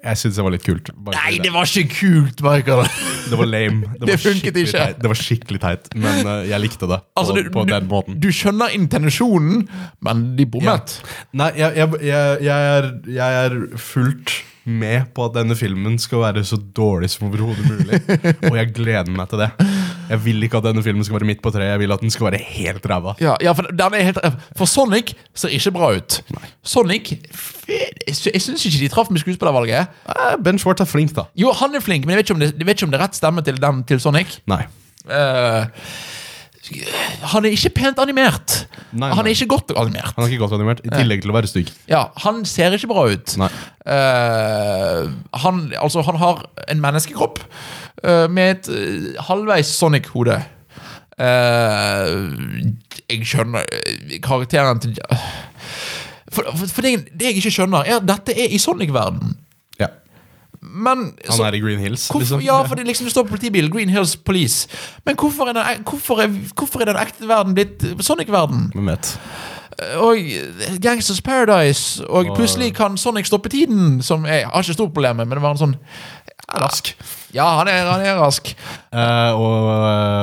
B: Jeg syns det var litt kult. Bare fordi
A: Nei, det var ikke kult, *laughs* Michael.
B: Det var lame. Det,
A: Det
B: var
A: funket
B: skikkelig
A: ikke.
B: Teit. Det var skikkelig teit, men eh, jeg likte det. På,
A: Altså, du,
B: på den
A: du,
B: måten.
A: du skjønner intensjonen, men de bommet.
B: Nei, jeg, jeg, jeg, jeg, er, jeg er fullt med på at denne filmen skal være så dårlig som overhodet
A: *laughs*
B: mulig. Og jeg gleder meg til det. Jeg vil ikke at denne filmen skal være midt på treet. Jeg vil at den skal være helt ræva.
A: Ja, ja for, den er helt, for Sonic ser ikke bra ut. Sonic f- Jeg sy- jeg syns ikke de traff med skuespillervalget.
B: Eh, Ben Schwartz er flink, da.
A: Jo, han er flink, men jeg vet ikke om det, jeg vet ikke om det er rett stemme til den til Sonic.
B: Nei.
A: Eh, han er ikke pent animert.
B: Nei,
A: han
B: nei.
A: er ikke godt animert.
B: Han er ikke godt animert, i tillegg til å være stygg.
A: Ja, han ser ikke bra ut.
B: Nei.
A: Eh, han, altså, han har en menneskekropp eh, med et eh, halvveis Sonic-hode. Eh, jeg skjønner eh, karakteren til For, for, for det, det jeg ikke skjønner, er at dette er i Sonic-verden.
B: Ja.
A: Men
B: Han
A: så-
B: er i Green Hills,
A: hvorfor,
B: liksom.
A: Ja, for det, liksom, det står politibil, Green Hills Police. Men hvorfor er den, hvorfor er, hvorfor er den ekte verden blitt eh, Sonic-verden?
B: Hvem vet.
A: og eh, Gangsters Paradise, og
B: Og-
A: plutselig kan Sonic stoppe tiden, som jeg har ikke stort problem med, men det var en sånn
B: Rask.
A: Ja, han er, han er rask.
B: Eh, og,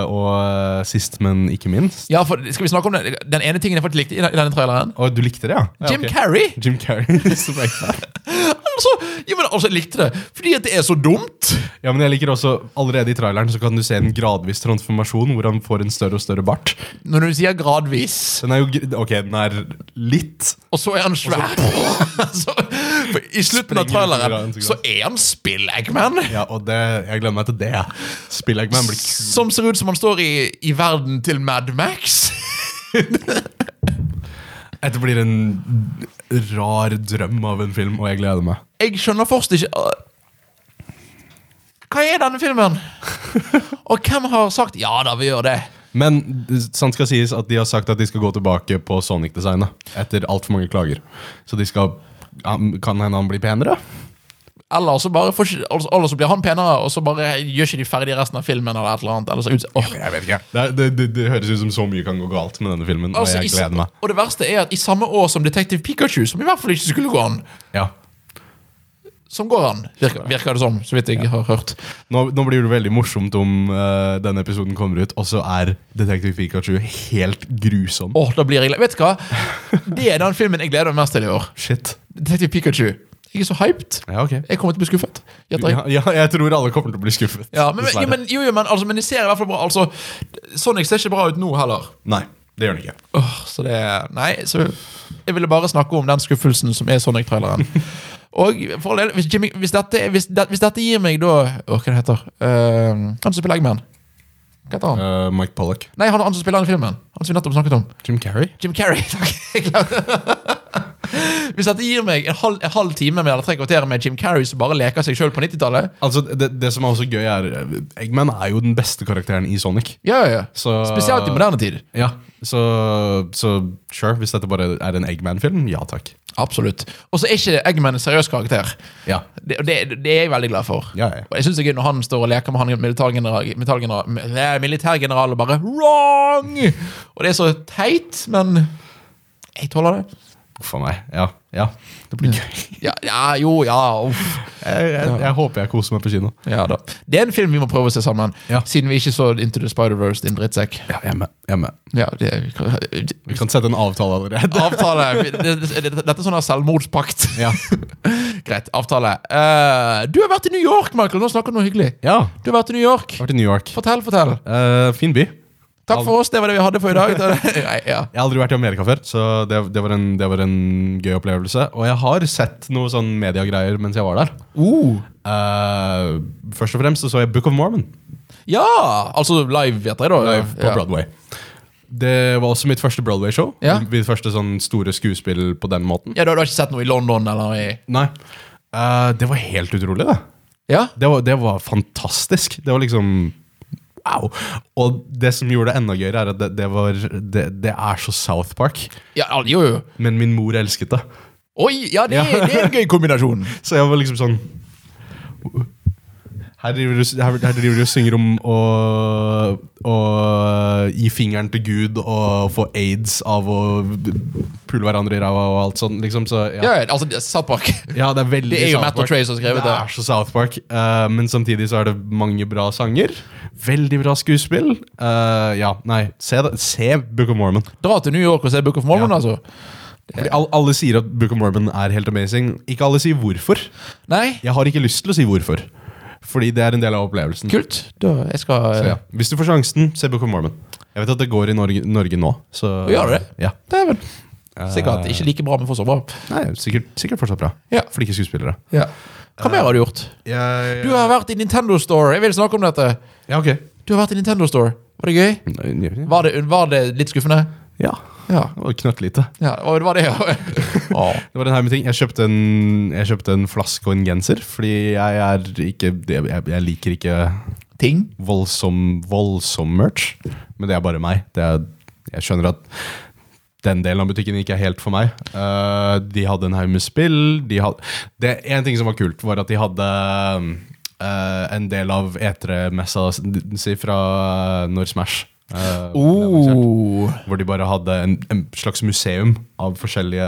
B: og eh, sist, men ikke minst
A: Ja, for skal vi snakke om den, den ene tingen jeg faktisk likte i den- i denne traileren?
B: Å, du likte det, ja? ja
A: Jim
B: *laughs* ok.
A: Carrey!
B: Jim Carrey. som er-
A: *laughs* Han Altså, ja, men altså, jeg likte det. Fordi at det er så dumt.
B: Ja, men jeg liker også, Allerede i traileren så kan du se en gradvis transformasjon hvor han får en større og større bart.
A: Når du sier gradvis,
B: Den er jo, gr- ok, den er litt
A: og så er han svær *laughs* så, for I slutten av
B: Sprenger
A: traileren
B: ut i
A: så
B: grann,
A: er han Spill-Eggman.
B: Ja, og det, jeg gleder meg til det. Spill-Eggman blir kul.
A: Som ser ut som han står i, i verden til Mad Max.
B: Dette blir en rar drøm av en film, og jeg gleder meg.
A: Jeg skjønner fortsatt ikke øh, Hva er denne filmen? Og hvem har sagt 'ja da, vi gjør det'?
B: Men det- sant skal sies at de har sagt at de skal gå tilbake på Sonic-designet etter altfor mange klager. Så de skal han- Kan hende han blir penere?
A: Eller så, bare får, ikke- altså, eller så blir han penere, og så bare gjør ikke de ferdig resten av filmen. Eller et eller annet. Eller så, ut- åh.
B: Jeg vet ikke. Det, er- det, det, det høres ut som så mye kan gå galt med denne filmen,
A: Altså, i
B: og jeg
A: sa-
B: gleder meg.
A: Og det verste er at i samme år som Detektiv Pikachu, som i hvert fall ikke skulle gå an,
B: Ja.
A: som går an, virker, virker det som, så vidt jeg har hørt.
B: Nå, nå blir det veldig morsomt om eh, denne episoden kommer ut, og så er Detektiv Pikachu helt grusom.
A: Åh, da blir jeg glad. Vet du hva? Det er den filmen jeg gleder meg mest til i år.
B: Shit.
A: Detektiv Pikachu. Jeg er så hyped.
B: Ja, ok.
A: Jeg kommer til å bli skuffet. Gjetter jeg.
B: Ja, ja, jeg tror alle kommer til å bli skuffet.
A: Ja, men,
B: dessverre.
A: ja, men, jo, jo, men, altså, men det ser i hvert fall bra Altså, Sonic ser ikke bra ut nå heller.
B: Nei, det gjør den ikke.
A: Åh, så det Nei, så jeg ville bare snakke om den skuffelsen som er
B: *laughs*
A: Sonic-traileren. Og for all del, hvis, Jimmy, hvis, dette, hvis, det, hvis dette gir meg da Åh, hva det heter Eh, Han som spiller Eggman. Hva heter han?
B: Eh, Mike Pollock.
A: Nei, han, han som spiller den filmen. Han som vi nettopp snakket om.
B: Jim Carrey?
A: Jim Carrey. *laughs* Takk. Jeg glemte. Hvis dette gir meg en halv, en halv time med eller tre kvarter med Jim Carrey som bare leker seg sjøl på 90-tallet
B: Altså, det, det som er også gøy, er Eggman er jo den beste karakteren i Sonic.
A: ja, ja, ja.
B: Så-
A: Spesielt i moderne tid.
B: Ja, så, så sure, hvis dette bare er en Eggman-film, ja takk.
A: Absolutt. Og så er ikke Eggman en seriøs karakter.
B: Ja.
A: Det, og det, det er jeg veldig glad for.
B: Ja, ja.
A: Og jeg synes det er gøy når han står og leker med han militærgeneral, militærgeneral, nei, militærgeneral og bare Wrong! Og det er så teit, men jeg tåler det.
B: Uff a meg. Ja, ja. Det blir gøy.
A: Ja, ja jo, ja. Uff.
B: Jeg, jeg, jeg håper jeg koser meg på kino.
A: Ja da. Det er en film vi må prøve å se sammen,
B: Ja.
A: siden vi ikke så Into the Spider-Verse, din drittsekk.
B: Ja, jeg er med. Jeg er med.
A: Ja, det,
B: Vi kan sette en avtale allerede.
A: avtale. Det, det, det, dette er sånn her selvmordspakt.
B: Ja.
A: *laughs* Greit, avtale. Eh, du har vært i New York, Michael. Nå snakker du noe hyggelig.
B: ja.
A: Du har vært i New York.
B: Vært i New York.
A: Fortell, fortell.
B: Eh, fin by.
A: Takk for oss, det var det vi hadde for i
B: *laughs*
A: dag. Nei, ja.
B: Jeg har aldri vært i Amerika før, så det, det, var en, det var en gøy opplevelse. Og jeg har sett noe sånn mediegreier mens jeg var der. Uh. Eh, først og fremst så, så jeg Book of Mormon
A: ja! Altså live, vet jeg da.
B: live på
A: ja.
B: Broadway. Det var også mitt første Broadway-show.
A: Ja.
B: Mitt første sånn store skuespill på den måten.
A: Ja, du, du har ikke sett noe i London eller i
B: Nei. Eh, det var helt utrolig, det.
A: Ja?
B: Det var, det var fantastisk. Det var liksom Wow! Og det som gjorde det enda gøyere, er at det, det, var, det, det er så South Park.
A: ja al- jo, jo.
B: Men min mor elsket det.
A: Oi! Ja, det, er- det er en gøy kombinasjon.
B: Så jeg var liksom sånn her driver, du, her, her driver du og synger om å, å gi fingeren til Gud og få aids av å pule hverandre i ræva og alt sånt, liksom. Så, ja.
A: Ja, ja, altså, det er South Park.
B: ja, det er veldig
A: Det er jo
B: South
A: Matt og
B: Park.
A: Trey som har skrevet
B: Det
A: det.
B: er så South Park. eh, men samtidig så er det mange bra sanger. Veldig bra skuespill. Eh, ja, nei, se, det- se Book of Mormon.
A: Dra til New York og se Book of Mormon,
B: Ja.
A: altså.
B: Fordi all, alle sier at Book of Mormon er helt amazing. Ikke alle sier hvorfor.
A: Nei?
B: Jeg har ikke lyst til å si hvorfor. Fordi det er en del av opplevelsen.
A: Kult. Da, jeg skal
B: Så ja. Hvis du får sjansen, se Book of Mormon. Jeg vet at det går i Norge, Norge nå. Så,
A: Gjør det?
B: Ja.
A: Dæven. Sikkert ikke like bra, men fortsatt bra.
B: Nei, sikkert, sikkert fortsatt bra.
A: Ja.
B: Flinke skuespillere.
A: Ja. Hva mer har du gjort? Du har vært i Nintendo Store. Jeg vil snakke om dette.
B: Ja, ok.
A: Du har vært i Nintendo Store. Var det gøy? Var det, var det litt skuffende?
B: Ja.
A: Ja.
B: Det var knøttlite.
A: ja og det var *laughs* det, ja. Åh.
B: Det var en haug med ting. Jeg kjøpte en, jeg kjøpte en flaske og en genser, fordi jeg er ikke Jeg, jeg liker ikke
A: Ting?
B: voldsom, voldsom merch, men det er bare meg. Det er, jeg skjønner at den delen av butikken ikke er helt for meg. Eh, de hadde en haug med spill. De had, det, en ting som var kult, var at de hadde eh, en del av E3-messa si fra når Smash eh, ble lansert,
A: Oh.
B: Hvor de bare hadde en, en slags museum av forskjellige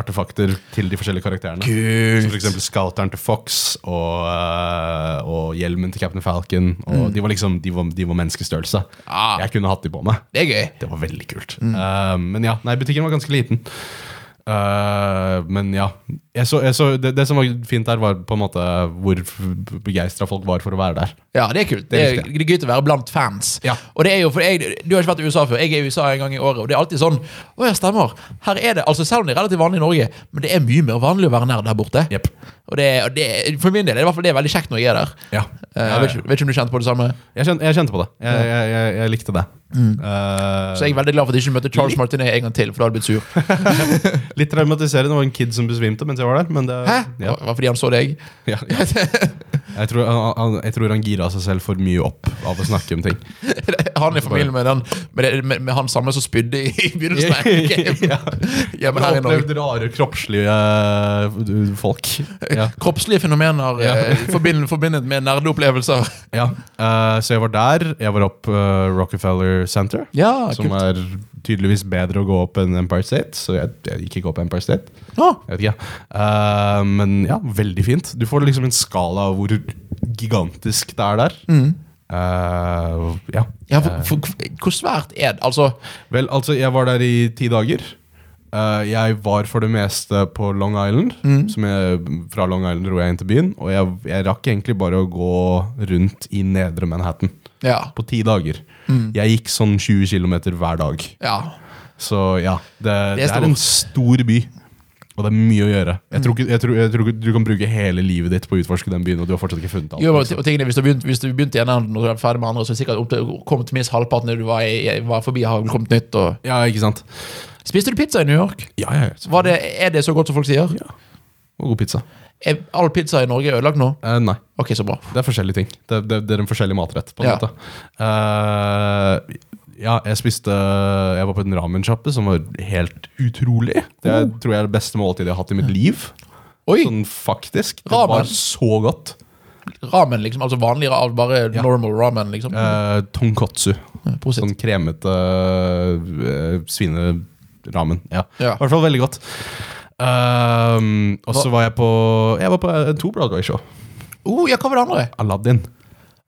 B: artefakter til de forskjellige karakterene.
A: Kult.
B: Som for eksempel scouteren til Fox og, eh, og hjelmen til Captain Falcon. Og De var liksom, de var, de var menneskestørrelse.
A: Mm. Ah. Mm.
B: Jeg kunne hatt de på meg.
A: Det er gøy.
B: Det var veldig kult. Eh, men ja, nei, butikken var ganske liten. Eh, Eh, men ja. Jeg så, jeg så, det, det som var fint der, var på en måte hvor begeistra folk var for å være der.
A: Ja, det er kult. Det
B: Det
A: er,
B: likte
A: det er gøy til å være blant fans.
B: Ja.
A: Og det er jo, for jeg, Du har ikke vært i USA før. Jeg er i USA en gang i året, og det er alltid sånn Å ja, stemmer. Her er det, altså Selv om det er relativt vanlig i Norge, men det er mye mer vanlig å være nerd her borte.
B: Jepp.
A: Og det, og det, For min del er det, i hvert fall, det er veldig kjekt når jeg er der.
B: Ja.
A: Eh, Jeg vet, ikke, vet ikke om du kjente på det samme.
B: Jeg, kjente, jeg kjente på det. Jeg, jeg, jeg, jeg likte det. Eh,
A: Mm. Så jeg er veldig glad for at jeg ikke møtte Charles Martinet en gang til, for da hadde jeg blitt sur.
B: Litt traumatiserende. Det var en kid som besvimte mens jeg var der. Men det,
A: Hæ?
B: Ja,
A: Det var fordi han så deg? *laughs*
B: ja, ja. *laughs* Jeg, tror, han- han- jeg tror han gira seg selv for mye opp av å snakke om ting.
A: Han er i familie med, den, med, det- med, med han samme som spydde i, i begynnelsen
B: *laughs*
A: av
B: Ja.
A: game. Hjemme her i Norge.
B: Opplevd rare kroppslige eh, folk. Ja.
A: Kroppslige fenomener
B: Ja.
A: eh, forbind- forbindet med nerdeopplevelser.
B: Ja, eh, så jeg var der. Jeg var opp eh, Rockefeller Center,
A: Ja,
B: som
A: kult.
B: er tydeligvis bedre å gå opp enn Empire State. Så jeg, jeg gikk ikke opp Empire State.
A: Ah,
B: Jeg vet ikke. Eh, men ja, veldig fint. Du får liksom en skala av hvor gigantisk det er der. Eh, ja.
A: ja, for, for, hvor svært er det? Altså,
B: Vel, altså, jeg var der i ti dager. Eh, jeg var for det meste på Long Island,
A: Mm.
B: som jeg, fra Long Island dro jeg inn til byen. Og jeg, jeg rakk egentlig bare å gå rundt i nedre Manhattan.
A: ja.
B: på ti dager.
A: Mm.
B: Jeg gikk sånn 20 km hver dag.
A: ja.
B: Så ja, det,
A: Det er
B: det er en stor by. Og det er mye å gjøre. Jeg
A: Mm.
B: tror, ikke, jeg, tror, jeg tror ikke du kan bruke hele livet ditt på å utforske den byen. Og du har fortsatt ikke funnet alt
A: Jo, og og tingene, hvis, du begynte, hvis du begynte i en enden og du er ferdig med andre, så er det sikkert opp til- kommet minst halvparten av det du var, i, var forbi, har vel kommet nytt. Og...
B: Ja, ikke sant?
A: Spiste du pizza i New York?
B: Ja, ja, ja.
A: Var det, er det så godt som folk sier?
B: Og god pizza.
A: Er all pizza i Norge ødelagt nå?
B: Eh, nei,
A: Ok, så bra.
B: det er forskjellige ting. Det, det, det er en forskjellig matrett. på en
A: Ja.
B: måte. Eh, ja, jeg spiste Jeg var på en ramensjappe som var helt utrolig. Det er,
A: Oh.
B: tror jeg er det beste måltidet jeg har hatt i mitt liv.
A: Oi,
B: Sånn faktisk. Det
A: Ramen?
B: var så godt.
A: ramen liksom, altså vanlig ramen, bare
B: Sånn- Ja.
A: normal ramen liksom.
B: Eh, tonkotsu.
A: Prosit.
B: Sånn kremete eh, svineramen. Ja.
A: Ja.
B: I hvert fall veldig godt. Ehm, og så var jeg på Jeg var på eh, to Broadway-show.
A: Oh, ja, hva var det andre?
B: Aladdin.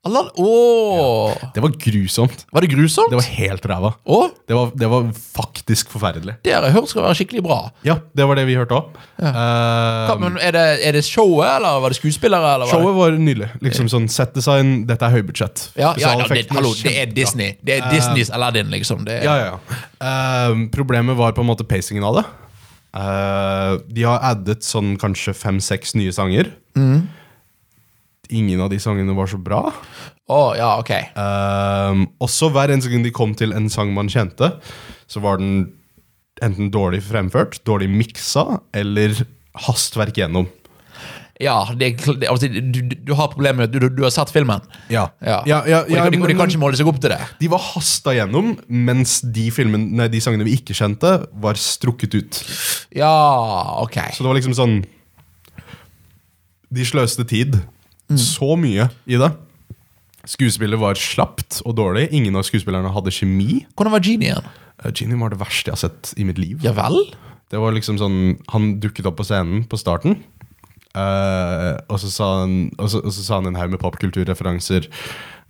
A: Allan, åh!
B: Det var grusomt.
A: Var det grusomt?
B: Det var helt ræva.
A: Åh,
B: Det var, det var faktisk forferdelig.
A: det har jeg hørt skal være skikkelig bra.
B: Ja, det var det vi hørte Eh, òg.
A: Hva, men er det, er det showet, eller var det skuespillere? Eller var det-
B: Um, Showet var nydelig. Liksom sånn Settdesign, dette er høybudsjett.
A: Ja, ja, ja det,
B: Spesialeffektene
A: hallo, det er
B: kjempebra.
A: Disney. Det er Disneys Aladdin, liksom. Det er,
B: Ja, ja, ja. Ehm, problemet var på en måte pacingen av det. Eh, de har addet sånn kanskje fem-seks nye sanger.
A: Mm.
B: Ingen av de sangene var så bra.
A: Åh, ja, ok.
B: Ehm, også hver eneste gang de kom til en sang man kjente, så var den enten dårlig fremført, dårlig miksa eller hastverk gjennom.
A: Ja, det, er kl- det, altså, du, du, du har problemer med at du, du, du har sett filmen.
B: Ja.
A: Ja.
B: Ja, ja,
A: og de,
B: ja,
A: kan- de, og de
B: men-
A: kan ikke måle seg opp til det.
B: De var hasta gjennom, mens de, filmen, nei, de sangene vi ikke kjente, var strukket ut.
A: Ja, ok.
B: Så det var liksom sånn De sløste tid så mye i det. Skuespillet var slapt og dårlig. Ingen av skuespillerne hadde kjemi.
A: Hvordan var Genien?
B: Eh, Genie var det verste jeg har sett i mitt liv.
A: Ja vel?
B: Det var liksom sånn Han dukket opp på scenen på starten. eh, og, så sa han, og, så, og så sa han en haug med popkulturreferanser,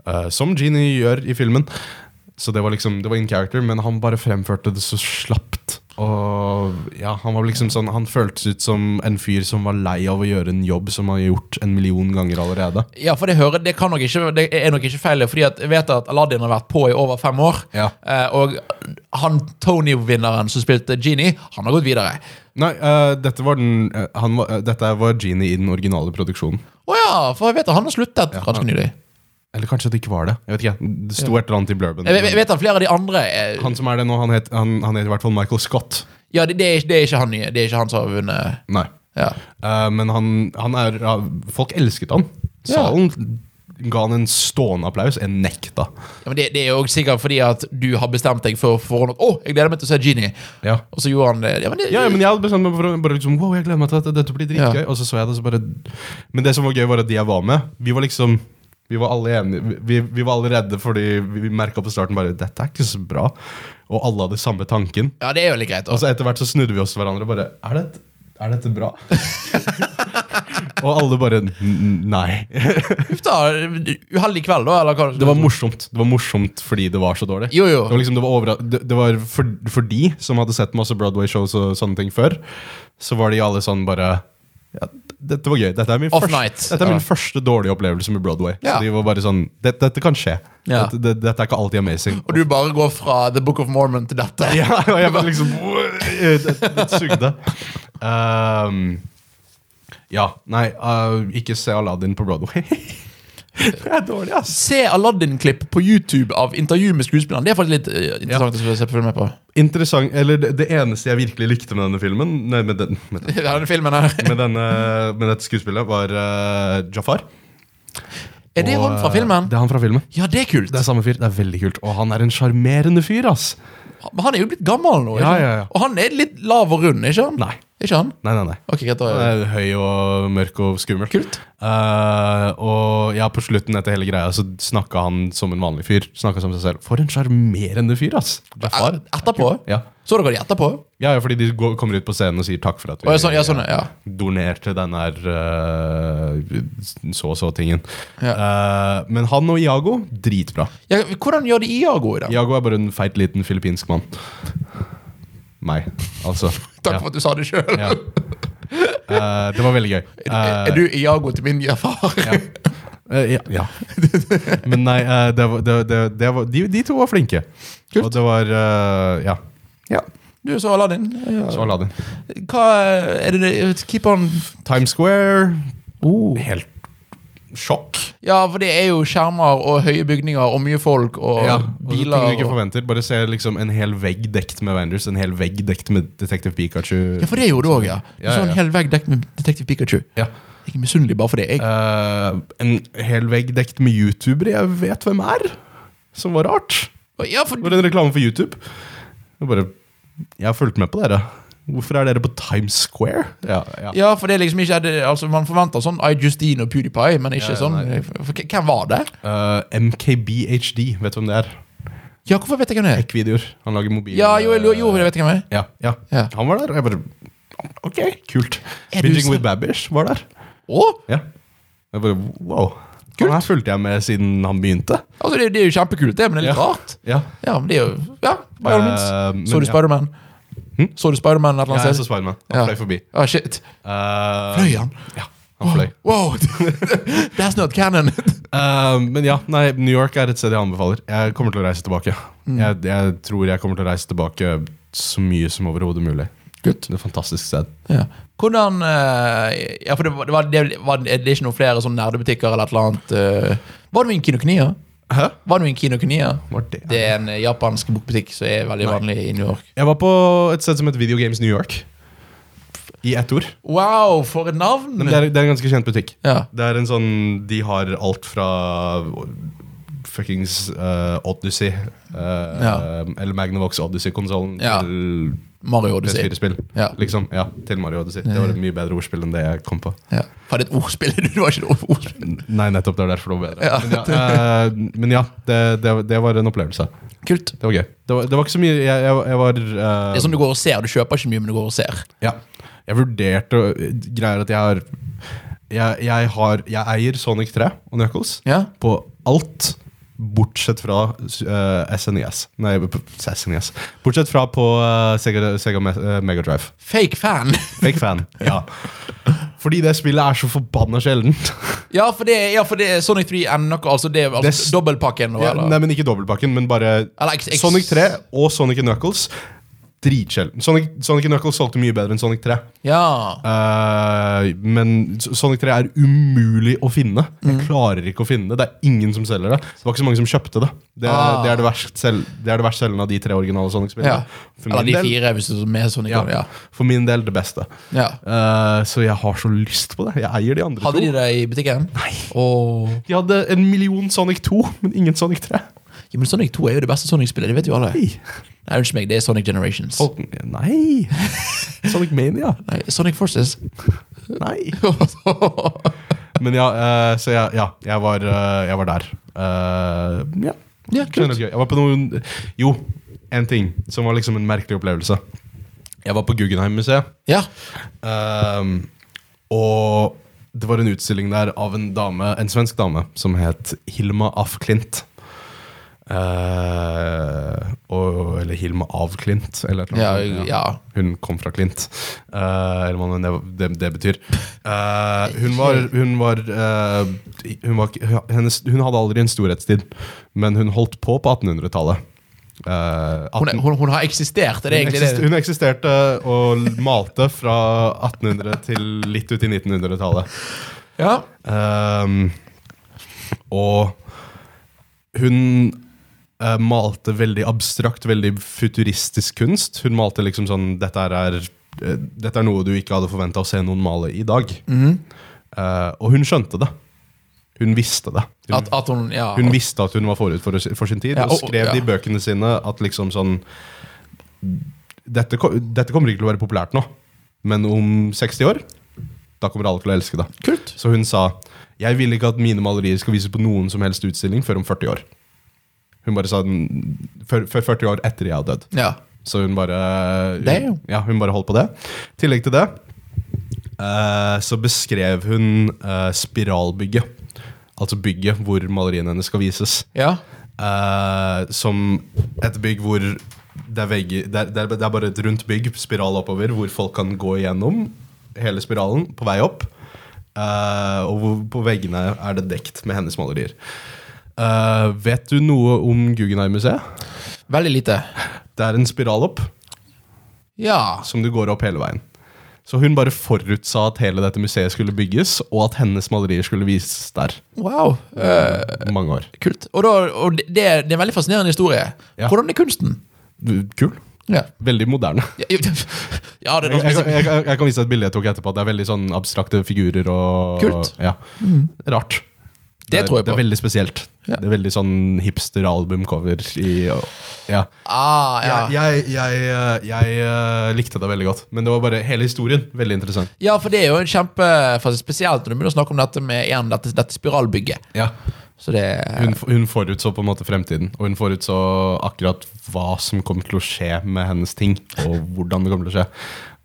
B: eh, som Genie gjør i filmen. Så det var liksom, det var in character, men han bare fremførte det så slapt. Og ja, Han var liksom sånn, han føltes ut som en fyr som var lei av å gjøre en jobb som han har gjort en million ganger allerede.
A: Ja, for det, hører, det, kan nok ikke, det er nok ikke feil, fordi at jeg vet at Aladdin har vært på i over fem år.
B: Ja.
A: Eh, og han Tony-vinneren som spilte Genie, han har gått videre.
B: Nei, eh, dette, var den, eh, han var, eh, dette var Genie i den originale produksjonen.
A: Å ja, for jeg vet at han har sluttet ganske
B: han-
A: nylig.
B: Eller kanskje det ikke var det. Jeg vet ikke, Det sto et eller annet i blurben.
A: Jeg, jeg, jeg vet at flere av de andre eh,
B: Han som er det nå, han het, han, han het i hvert fall Michael Scott.
A: Ja, det, det, er, ikke- det er ikke han nye. Det er ikke han som har vunnet.
B: Nei.
A: Ja.
B: Eh, men han, han er ja, Folk elsket han.
A: Ja.
B: Salen ga han en stående applaus. Jeg nekta.
A: Ja, men det, det er jo sikkert fordi at du har bestemt deg for forhånd at 'Å, jeg gleder meg til å se Genie'.
B: Ja.
A: Og så gjorde han det. Ja, men det,
B: ja, men jeg hadde bestemt meg for å bare liksom, wow, jeg gleder meg til at dette blir dritgøy.
A: Ja.
B: Og så så jeg det, så bare Men det som var gøy, var at de jeg var med, vi var liksom vi var alle enige, vi, vi var alle redde fordi vi merka på starten bare Dette er ikke så bra. Og alle hadde samme tanken.
A: ja, det er jo litt greit.
B: Og
A: Altså.
B: så etter hvert så snudde vi oss til hverandre og bare Er, det, er dette bra? *laughs* Og alle bare "N- n- Nei.
A: Uff da, uheldig kveld, da? Eller hva?
B: Det var morsomt Det var morsomt fordi det var så dårlig.
A: Jo, jo.
B: Det var, liksom, det var, overra- det, det var for, for de som hadde sett masse Broadway-shows og sånne ting før, så var de alle sånn bare ja, dette var gøy. Dette er min,
A: Off night.
B: første, dette er min
A: Ja.
B: første dårlige opplevelse med Broadway.
A: Ja.
B: Så de var bare sånn Dette, dette kan skje.
A: Ja.
B: Dette, det, dette er ikke alltid amazing.
A: Og du bare går fra The Book of Mormon til dette?
B: *laughs* Ja, og jeg bare liksom Det, det øh, sugde. Ehm, ja. Nei, eh, ikke se Aladdin på Broadway. *laughs* det er dårlig, ass.
A: Se Aladdin-klipp på YouTube av intervju med skuespilleren. Det er faktisk litt eh, interessant å se på film med
B: *laughs*
A: på.
B: Interessant, eller det, det eneste jeg virkelig likte med denne filmen Nei, med, den, med, den,
A: Denne filmen her.
B: med, denne, med dette skuespillet, var eh, Jafar.
A: *laughs* Er det
B: Og,
A: han fra
B: eh,
A: filmen?
B: Det er han fra filmen.
A: Ja, det er kult.
B: Det er samme fyr. Det er veldig kult. Og han er en sjarmerende fyr, ass.
A: Men han er jo blitt gammel nå. ikke
B: Ja,
A: sant?
B: ja, ja.
A: Og han er litt lav og rund, ikke han?
B: Nei.
A: Ikke han?
B: Nei, nei, nei.
A: Ok, greit, da.
B: Han er Eh, høy og mørk og skummel.
A: Kult.
B: Eh, og ja, på slutten etter hele greia så snakka han som en vanlig fyr. Snakka som seg selv. For en sjarmerende fyr, ass. Jafar.
A: Etterpå?
B: Eh, Ja.
A: Så dere de etterpå?
B: ja, ja, fordi de går, kommer ut på scenen og sier takk for at vi
A: Å, ja, sånn, ja, sånn, ja.
B: donerte den her eh, så og så-tingen. Eh, men han og Iago, dritbra.
A: ja. Hvordan gjør de Iago i dag?
B: Iago er bare en feit liten filippinsk mann. Meg, altså.
A: *laughs* Takk for at du sa det sjøl.
B: ja. Eh, det var veldig gøy.
A: *laughs* Er er du Iago til min far?
B: ja. Eh, ja. ja. *laughs* Men nei, eh, det var, det, det, det var, de, de to var flinke.
A: Kult.
B: Og det var eh, ja.
A: *laughs* Du så Aladdin. Ja.
B: Så Aladdin.
A: Hva er det det Keep on
B: Times Square
A: oh.
B: Helt sjokk.
A: Ja, for det er jo skjermer og høye bygninger og mye folk og
B: Ja, og så ting
A: biler.
B: du ikke
A: og...
B: forventer. Bare se liksom en hel vegg dekt med Vanders, en hel vegg dekt med Detective Pikachu.
A: Ja, for det gjorde du òg, ja. Du
B: Ja, ja,
A: så en
B: ja.
A: hel vegg dekket med Detektiv Pikachu.
B: Ja.
A: Jeg er misunnelig bare for det. Jeg.
B: Eh, en hel vegg dekt med youtubere jeg vet hvem er, som var rart.
A: Ja, for
B: Det var en reklame for YouTube. Jeg bare Jeg har fulgt med på dere. Hvorfor er dere på Times Square? Ja, ja.
A: Ja, for det er liksom ikke det, altså Man forventer sånn I Justine og PewDiePie, men ikke
B: Ja, ja,
A: sånn
B: nei.
A: for, for, Hvem var det?
B: Eh, MKBHD, vet du hvem det er?
A: Ja, hvorfor vet jeg hvem det er?
B: Tech-videoer. Han lager mobil
A: Ja, jo, jeg, lurer- jo, jeg vet hvem det er.
B: ja, ja.
A: Ja.
B: Han var der, og jeg bare Ok, kult.
A: Er du
B: Binging
A: så-
B: with Babish var der.
A: Å?
B: Ja. Jeg bare wow.
A: Kult.
B: Han her fulgte jeg med siden han begynte.
A: Altså, det, det er jo kjempekult, det, men det er litt
B: Ja.
A: rart.
B: Ja.
A: Ja, men det er jo Ja, by all means.
B: Eh, men
A: Så du
B: ja.
A: Spiderman?
B: Hm?
A: Så du Spiderman et eller
B: Jeg
A: annet
B: så
A: sted?
B: Spiderman. Han
A: Ja.
B: fløy forbi.
A: Ah, shit.
B: Eh,
A: Fløy han?
B: Ja, han fløy.
A: Wow! *laughs* That's not canon.
B: Eh, men ja, nei, New York er et sted jeg anbefaler. Jeg kommer til å reise tilbake. Jeg, jeg tror jeg kommer til å reise tilbake så mye som overhodet mulig.
A: Kult.
B: Det er et fantastisk sted.
A: ja. Hvordan eh, Ja, for det var, det, var, det, var, det er ikke noen flere sånne nerdebutikker eller et eller annet eh. Var det noen Kinoknia?
B: Hæ?
A: Var det noen Kinoknia?
B: Var det?
A: Det er en eh, japansk bokbutikk som er veldig vanlig i New York.
B: Jeg var på et sted som het Video Games New York. I ett ord.
A: Wow, for et navn!
B: Men det er, det er en ganske kjent butikk.
A: ja.
B: Det er en sånn De har alt fra fuckings eh, Odyssey eh,
A: Ja.
B: Eller Magnavox Odyssey-konsollen
A: Ja.
B: til
A: Mario Odyssey.
B: PS4-spill.
A: Ja.
B: Liksom, ja, til Mario Odyssey. Det var et mye bedre ordspill enn det jeg kom på.
A: Ja. Var det et ordspill? *laughs* Det var ikke et ordspill.
B: Nei, nettopp. Det var derfor det var bedre.
A: Ja.
B: Men ja, eh, men ja det, det, det var en opplevelse.
A: Kult.
B: Det var gøy. Det var, det var ikke så mye Jeg, jeg, jeg var eh,
A: Det er sånn du går og ser. Du kjøper ikke mye, men du går og ser.
B: Ja. Jeg vurderte å- greier at jeg har jeg, jeg har Jeg eier Sonic 3 og Knuckles
A: Ja.
B: på alt. Bortsett fra eh, SNES. Nei, p- p- SNES. E Bortsett fra på eh, Sega, Sega Me- eh, Mega Drive.
A: Fake fan.
B: Fake fan. ja. Fordi det spillet er så forbanna sjeldent.
A: *laughs* Ja, for det, ja, for det er Sonic 3 and noe, altså det er altså,
B: Det s-
A: dobbeltpakken. Og,
B: Ja,
A: eller?
B: *laughs* nei, men ikke dobbeltpakken, men bare
A: Eller X- X-
B: Sonic 3 og Sonic Knuckles. Dritsjelden. Sonic, Sonic Knuckles solgte mye bedre enn Sonic 3.
A: Ja.
B: Eh, men S- Sonic 3 er umulig å finne.
A: Mm.
B: Jeg klarer ikke å finne det. Det er ingen som selger det. Det var ikke så mange som kjøpte det. Det er
A: Ah.
B: det, er det, verst, sel det er det verst selgende av de tre originale
A: ja.
B: Sonic-spillene. For,
A: Eller
B: min
A: de
B: del-
A: fire, hvis du er med Sonic.
B: ja,
A: Ja. Ja.
B: for min del det beste.
A: Ja.
B: Eh, så jeg har så lyst på det. Jeg eier de andre
A: Hadde de
B: to.
A: det i butikken? Nei. Og...
B: De hadde en million Sonic 2, men ingen Sonic 3.
A: Ja, men Sonic 2 er jo det beste Sonic-spillet. Det vet jo alle.
B: Nei!
A: Nei, unnskyld meg, det er Sonic Generations.
B: Folk-
A: *laughs*
B: Nei. Sonic Mania.
A: Nei, Sonic Forces.
B: Nei. Men ja, eh, så jeg, ja, jeg, var, eh, jeg var der. Eh, ja.
A: Ja, kult.
B: Skjønner du ikke? Jeg var på noen Jo, en ting som var liksom en merkelig opplevelse. Jeg var på Guggenheim-museet.
A: ja.
B: ehm, Um, og det var en utstilling der av en dame, en svensk dame som het Hilma af Klint. Eh, og, eller Hilma av Klint, eller et eller
A: Ja,
B: annet. sånt,
A: ja.
B: Hun kom fra Klint, eh, eller hva det, det, det betyr. Eh, hun var, hun, var, eh, hun, var ikke- hennes, hun hadde aldri en storhetstid, men hun holdt på på 1800-tallet. Eh,
A: Hun, er- hun, hun har eksistert, er det
B: hun,
A: egentlig
B: eksist-
A: det?
B: hun eksisterte og malte fra 1800 til litt ut i 1900-tallet.
A: Ja.
B: Ehm, og hun eh, malte veldig abstrakt, veldig futuristisk kunst. Hun malte liksom sånn Dette er, eh, dette er noe du ikke hadde forventa å se noen male i dag. Eh, og hun skjønte det. Hun visste det. Hun
A: At, at hun ja.
B: hun visste at hun var forut for, for sin tid,
A: Ja,
B: og
A: og-
B: skrev det
A: ja.
B: i bøkene sine at liksom sånn dette, ko- dette kommer ikke til å være populært nå, men om 60 år da kommer alle til å elske det.
A: Kult.
B: Så hun sa jeg vil ikke at mine malerier skal vises på noen som helst utstilling før om 40 år. Hun bare sa den før, før 40 år etter jeg har dødd.
A: Ja.
B: Så hun bare
A: Damn.
B: Ja, hun bare holdt på det. I tillegg til det eh, så beskrev hun eh, spiralbygget. Altså bygget hvor maleriene hennes skal vises.
A: ja.
B: Eh, som et bygg hvor det er, vegger, det, er, det, er, det er bare et rundt bygg, spiral oppover, hvor folk kan gå igjennom hele spiralen på vei opp. Eh, og hvor, på veggene er det dekt med hennes malerier. Eh, vet du noe om Guggenheim-museet?
A: Veldig lite.
B: Det er en spiral opp
A: Ja.
B: som du går opp hele veien. Så hun bare forutsa at hele dette museet skulle bygges, og at hennes malerier skulle vises der.
A: Wow. Eh,
B: Mange år.
A: kult. Og, da, og det, det er det er en veldig fascinerende historie.
B: Ja.
A: Hvordan er kunsten?
B: Kul.
A: Ja.
B: Veldig moderne.
A: Ja, ja, *laughs* ja det er noe
B: Jeg, jeg,
A: som liksom-
B: jeg, jeg kan vise deg et bilde jeg tok etterpå. at Det er veldig sånn abstrakte figurer og
A: Kult.
B: Ja. Mm. Rart.
A: Det
B: er-
A: tror jeg
B: Det
A: på.
B: er veldig spesielt.
A: Ja.
B: Det er veldig sånn hipster-albumcover i Ja.
A: Ah, ja.
B: Jeg, jeg, jeg, eh, jeg eh, likte det veldig godt, men det var bare hele historien. Veldig interessant.
A: ja, for det er jo en kjempe for Spesielt når du begynner å snakke om dette med igjen, dette, dette spiralbygget. Så det
B: Hun, hun forutså på en måte fremtiden, og hun forutså akkurat hva som kommer til å skje med hennes ting, og hvordan det kommer til å skje.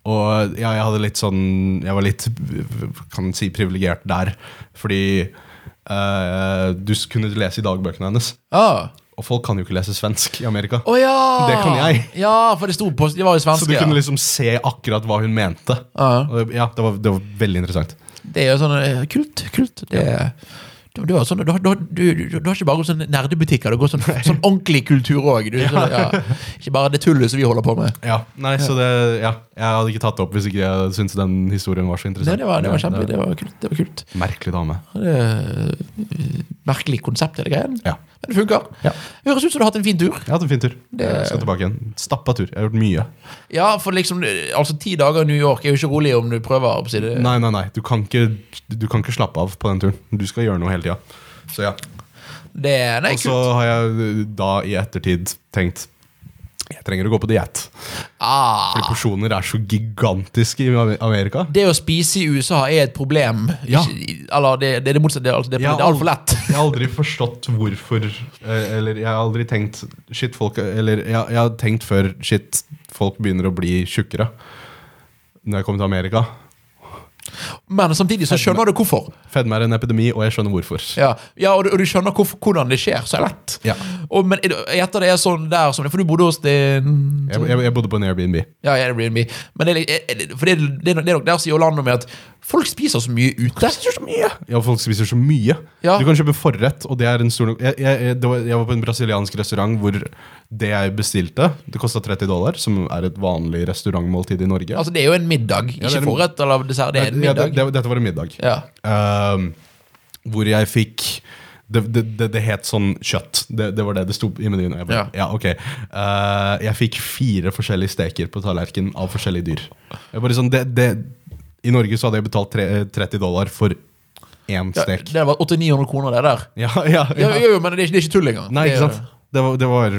B: Og ja, jeg hadde litt sånn Jeg var litt kan man si privilegert der, fordi eh, du s- kunne lese i dagbøkene hennes.
A: Å
B: Og folk kan jo ikke lese svensk i Amerika.
A: Ah. Å ja!
B: Det kan jeg.
A: Ja, for det sto på De var jo
B: Så du
A: svenske.
B: kunne
A: Ja.
B: liksom se akkurat hva hun mente.
A: Ja.
B: Og ja, det var, det var veldig interessant.
A: Det er jo sånn eh, Kult, kult. Det du, du, har sånn, du, har- du, har- du, du, du har ikke bare gått sånn nerdebutikker, du går sånn, sånn ordentlig kultur òg. sånn-
B: *laughs*
A: Ja. Ikke bare det tullet som vi holder på med.
B: Ja, nei, så det, ja, Jeg hadde ikke tatt det opp hvis ikke jeg syntes den historien var så
A: Nei,
B: interessant.
A: det var, det var kjempe,
B: det
A: det var kult. Det var kult.
B: var Merkelig dame.
A: Det er, eh, merkelig konsept, hele greien.
B: Ja.
A: Men det funker.
B: Ja.
A: Høres ut som du har hatt en fin tur.
B: Jeg har hatt en fin tur.
A: Det-
B: Jeg skal tilbake igjen. Stappa tur. Jeg har gjort mye.
A: Ja, for liksom, eh, altså Ti dager i New York er jo ikke rolig om du prøver. å si det.
B: Nei, nei, nei. Du kan ikke, du kan ikke slappe av på den turen. Du skal gjøre noe hele tida. Så ja.
A: Det, nei,
B: Og så
A: kult.
B: har jeg eh, da i ettertid tenkt jeg trenger å gå på diett.
A: Ah,
B: Fordi porsjoner er så gigantiske i Amer- Amerika.
A: det å spise i USA er et problem.
B: Ja.
A: Ikke, eller det, det er det motsatte. Det, er altså, det, er- det er altfor lett.
B: Jeg har aldri forstått hvorfor eh, Eller jeg har aldri tenkt Shit, folk Eller jeg, jeg har tenkt før Shit, folk begynner å bli tjukkere. Når jeg kom til Amerika.
A: Men samtidig så skjønner du hvorfor.
B: Fedme er en epidemi, og jeg skjønner hvorfor.
A: Ja, ja og, du, og du skjønner hvorfor, hvordan det skjer så lett.
B: Ja.
A: Og, men jeg gjetter det er sånn der som det, for du bodde hos din
B: Jeg, jeg, jeg bodde på en Airbnb.
A: Ja, ja, Airbnb. Men det, er litt- er- er- for det, det, er- det er nok der sier Orlando med at folk spiser så mye ute.
B: Ja, folk spiser så mye.
A: Ja.
B: Du kan kjøpe forrett, og det er en stor nok jeg, jeg, jeg- det var, jeg var på en brasiliansk restaurant hvor det jeg bestilte, det kosta 30 dollar, som er et vanlig restaurantmåltid i Norge.
A: Altså, det er jo en middag.
B: det er
A: ikke
B: en-
A: forrett eller dessert, det er en
B: Ja, det-
A: middag.
B: det- dette var en middag.
A: Ja.
B: Ehm, hvor jeg fikk det, det, det, det het sånn kjøtt. Det, det var det det sto i menyen. og Jeg, bare, ja. ok Eh, jeg fikk fire forskjellige steker på tallerkenen av forskjellige dyr. Jeg bare sånn, det, det, I Norge så hadde jeg betalt tre, 30 dollar for én
A: Ja,
B: stek.
A: det var 800-900 kroner, det der.
B: Ja, *laughs* ja,
A: Ja,
B: ja.
A: jo, jo, men det er ikke, det er ikke tull engang.
B: Nei,
A: Det er-
B: ikke sant? Det var, det var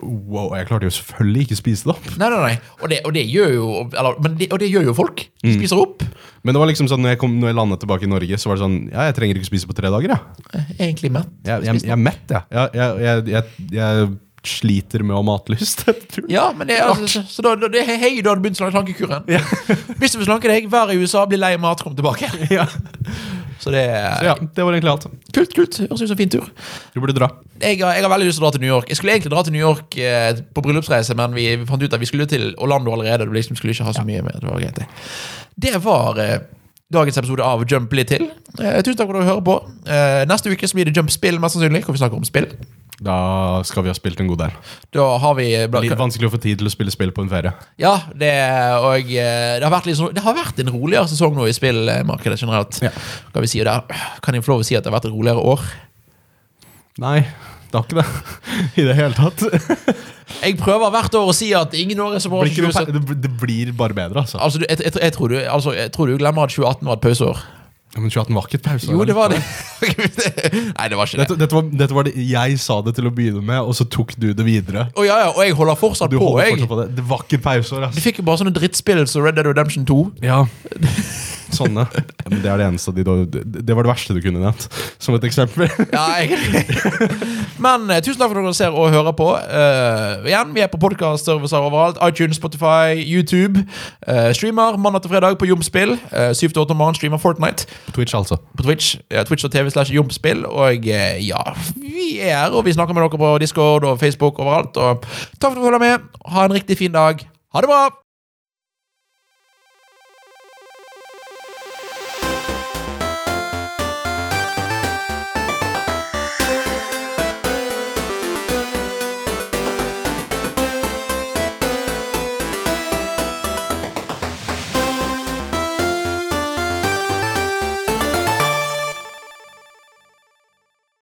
B: Wow, jeg klarte jo selvfølgelig ikke å spise det opp.
A: Nei, nei, nei. Og det, og det gjør jo eller, men det, Og det gjør jo folk.
B: Mm.
A: De spiser opp.
B: Men det var liksom sånn, når jeg, kom, når jeg landet tilbake i Norge, så var det sånn Ja, jeg trenger ikke spise på tre dager, jeg.
A: Eh, Egentlig mett.
B: Jeg, jeg, jeg er mett, jeg. Jeg, jeg, jeg, jeg, jeg sliter med å ha matlyst *laughs* etter turen.
A: Ja, men det, er altså, så da, da, det er hei, du hadde begynt slank- slankekuren. Hvis du vil slanke deg, vær i USA, bli lei av mat, kom
B: *laughs*
A: tilbake.
B: Ja.
A: Så det er
B: ja, det var egentlig alt.
A: kult, kult. Høres ut som en fin tur.
B: Du burde dra.
A: Jeg har, jeg har veldig lyst til å dra til New York. Jeg skulle egentlig dra til New York eh, på bryllupsreise, men vi fant ut at vi skulle til Orlando allerede. Det liksom skulle ikke ha så mye med. Det var greit, det. Det var eh, dagens episode av Jump litt til. Eh, tusen takk for at du hører på. Eh, neste uke så blir det Jump-spill, mest sannsynlig, hvor vi snakker om spill.
B: Da skal vi ha spilt en god del.
A: Da har vi eh,
B: Litt vanskelig å få tid til å spille spill på en ferie.
A: Ja, det, og, eh, det, har vært litt sånn- det har vært en roligere sesong nå i spillmarkedet generelt.
B: Ja.
A: Kan, vi si det? kan jeg få lov å si at det har vært et roligere år?
B: Nei, det har ikke det. *laughs* I det hele tatt. Det
A: Jeg prøver hvert år å si at ingen år er så bra
B: blir, ikke
A: som
B: noe,
A: 2017.
B: fe- det, det blir bare bedre, altså.
A: Altså, du- jeg, jeg, jeg, tror du, altså, jeg tror du glemmer at 2018 var et pauseår.
B: Ja, men 2018 var ikke et pause.
A: Jo, det var det. *laughs* Nei, det var ikke det.
B: Dette, dette, var, dette var det jeg sa det til å begynne med, og så tok du det videre.
A: Å ja, ja, og jeg holder fortsatt
B: Du
A: på.
B: holder
A: Jeg.
B: fortsatt på det. Det var ikke et pauseår,
A: Vi
B: altså.
A: fikk jo bare sånne drittspill som Red Dead Redemption 2.
B: Ja. *laughs* Sånne. Ja, Men det er det eneste de da Det var det verste du kunne nevnt, som et eksempel.
A: Ja, egentlig. *laughs* Men eh, tusen takk for at dere ser og hører på. Eh, igjen, Vi er på podkast-servicer overalt. iTunes, Spotify, YouTube. Eh, streamer mandag til fredag på Jomspill. Uh, 7 til 8 om morgenen streamer Fortnite.
B: Twitch, altså.
A: på Twitch. eh, Twitch.tv slash jobbspill. Og eh, ja, vi er her, og vi snakker med dere på Discord og Facebook overalt. Og takk for at du følger med. Ha en riktig fin dag. Ha det bra!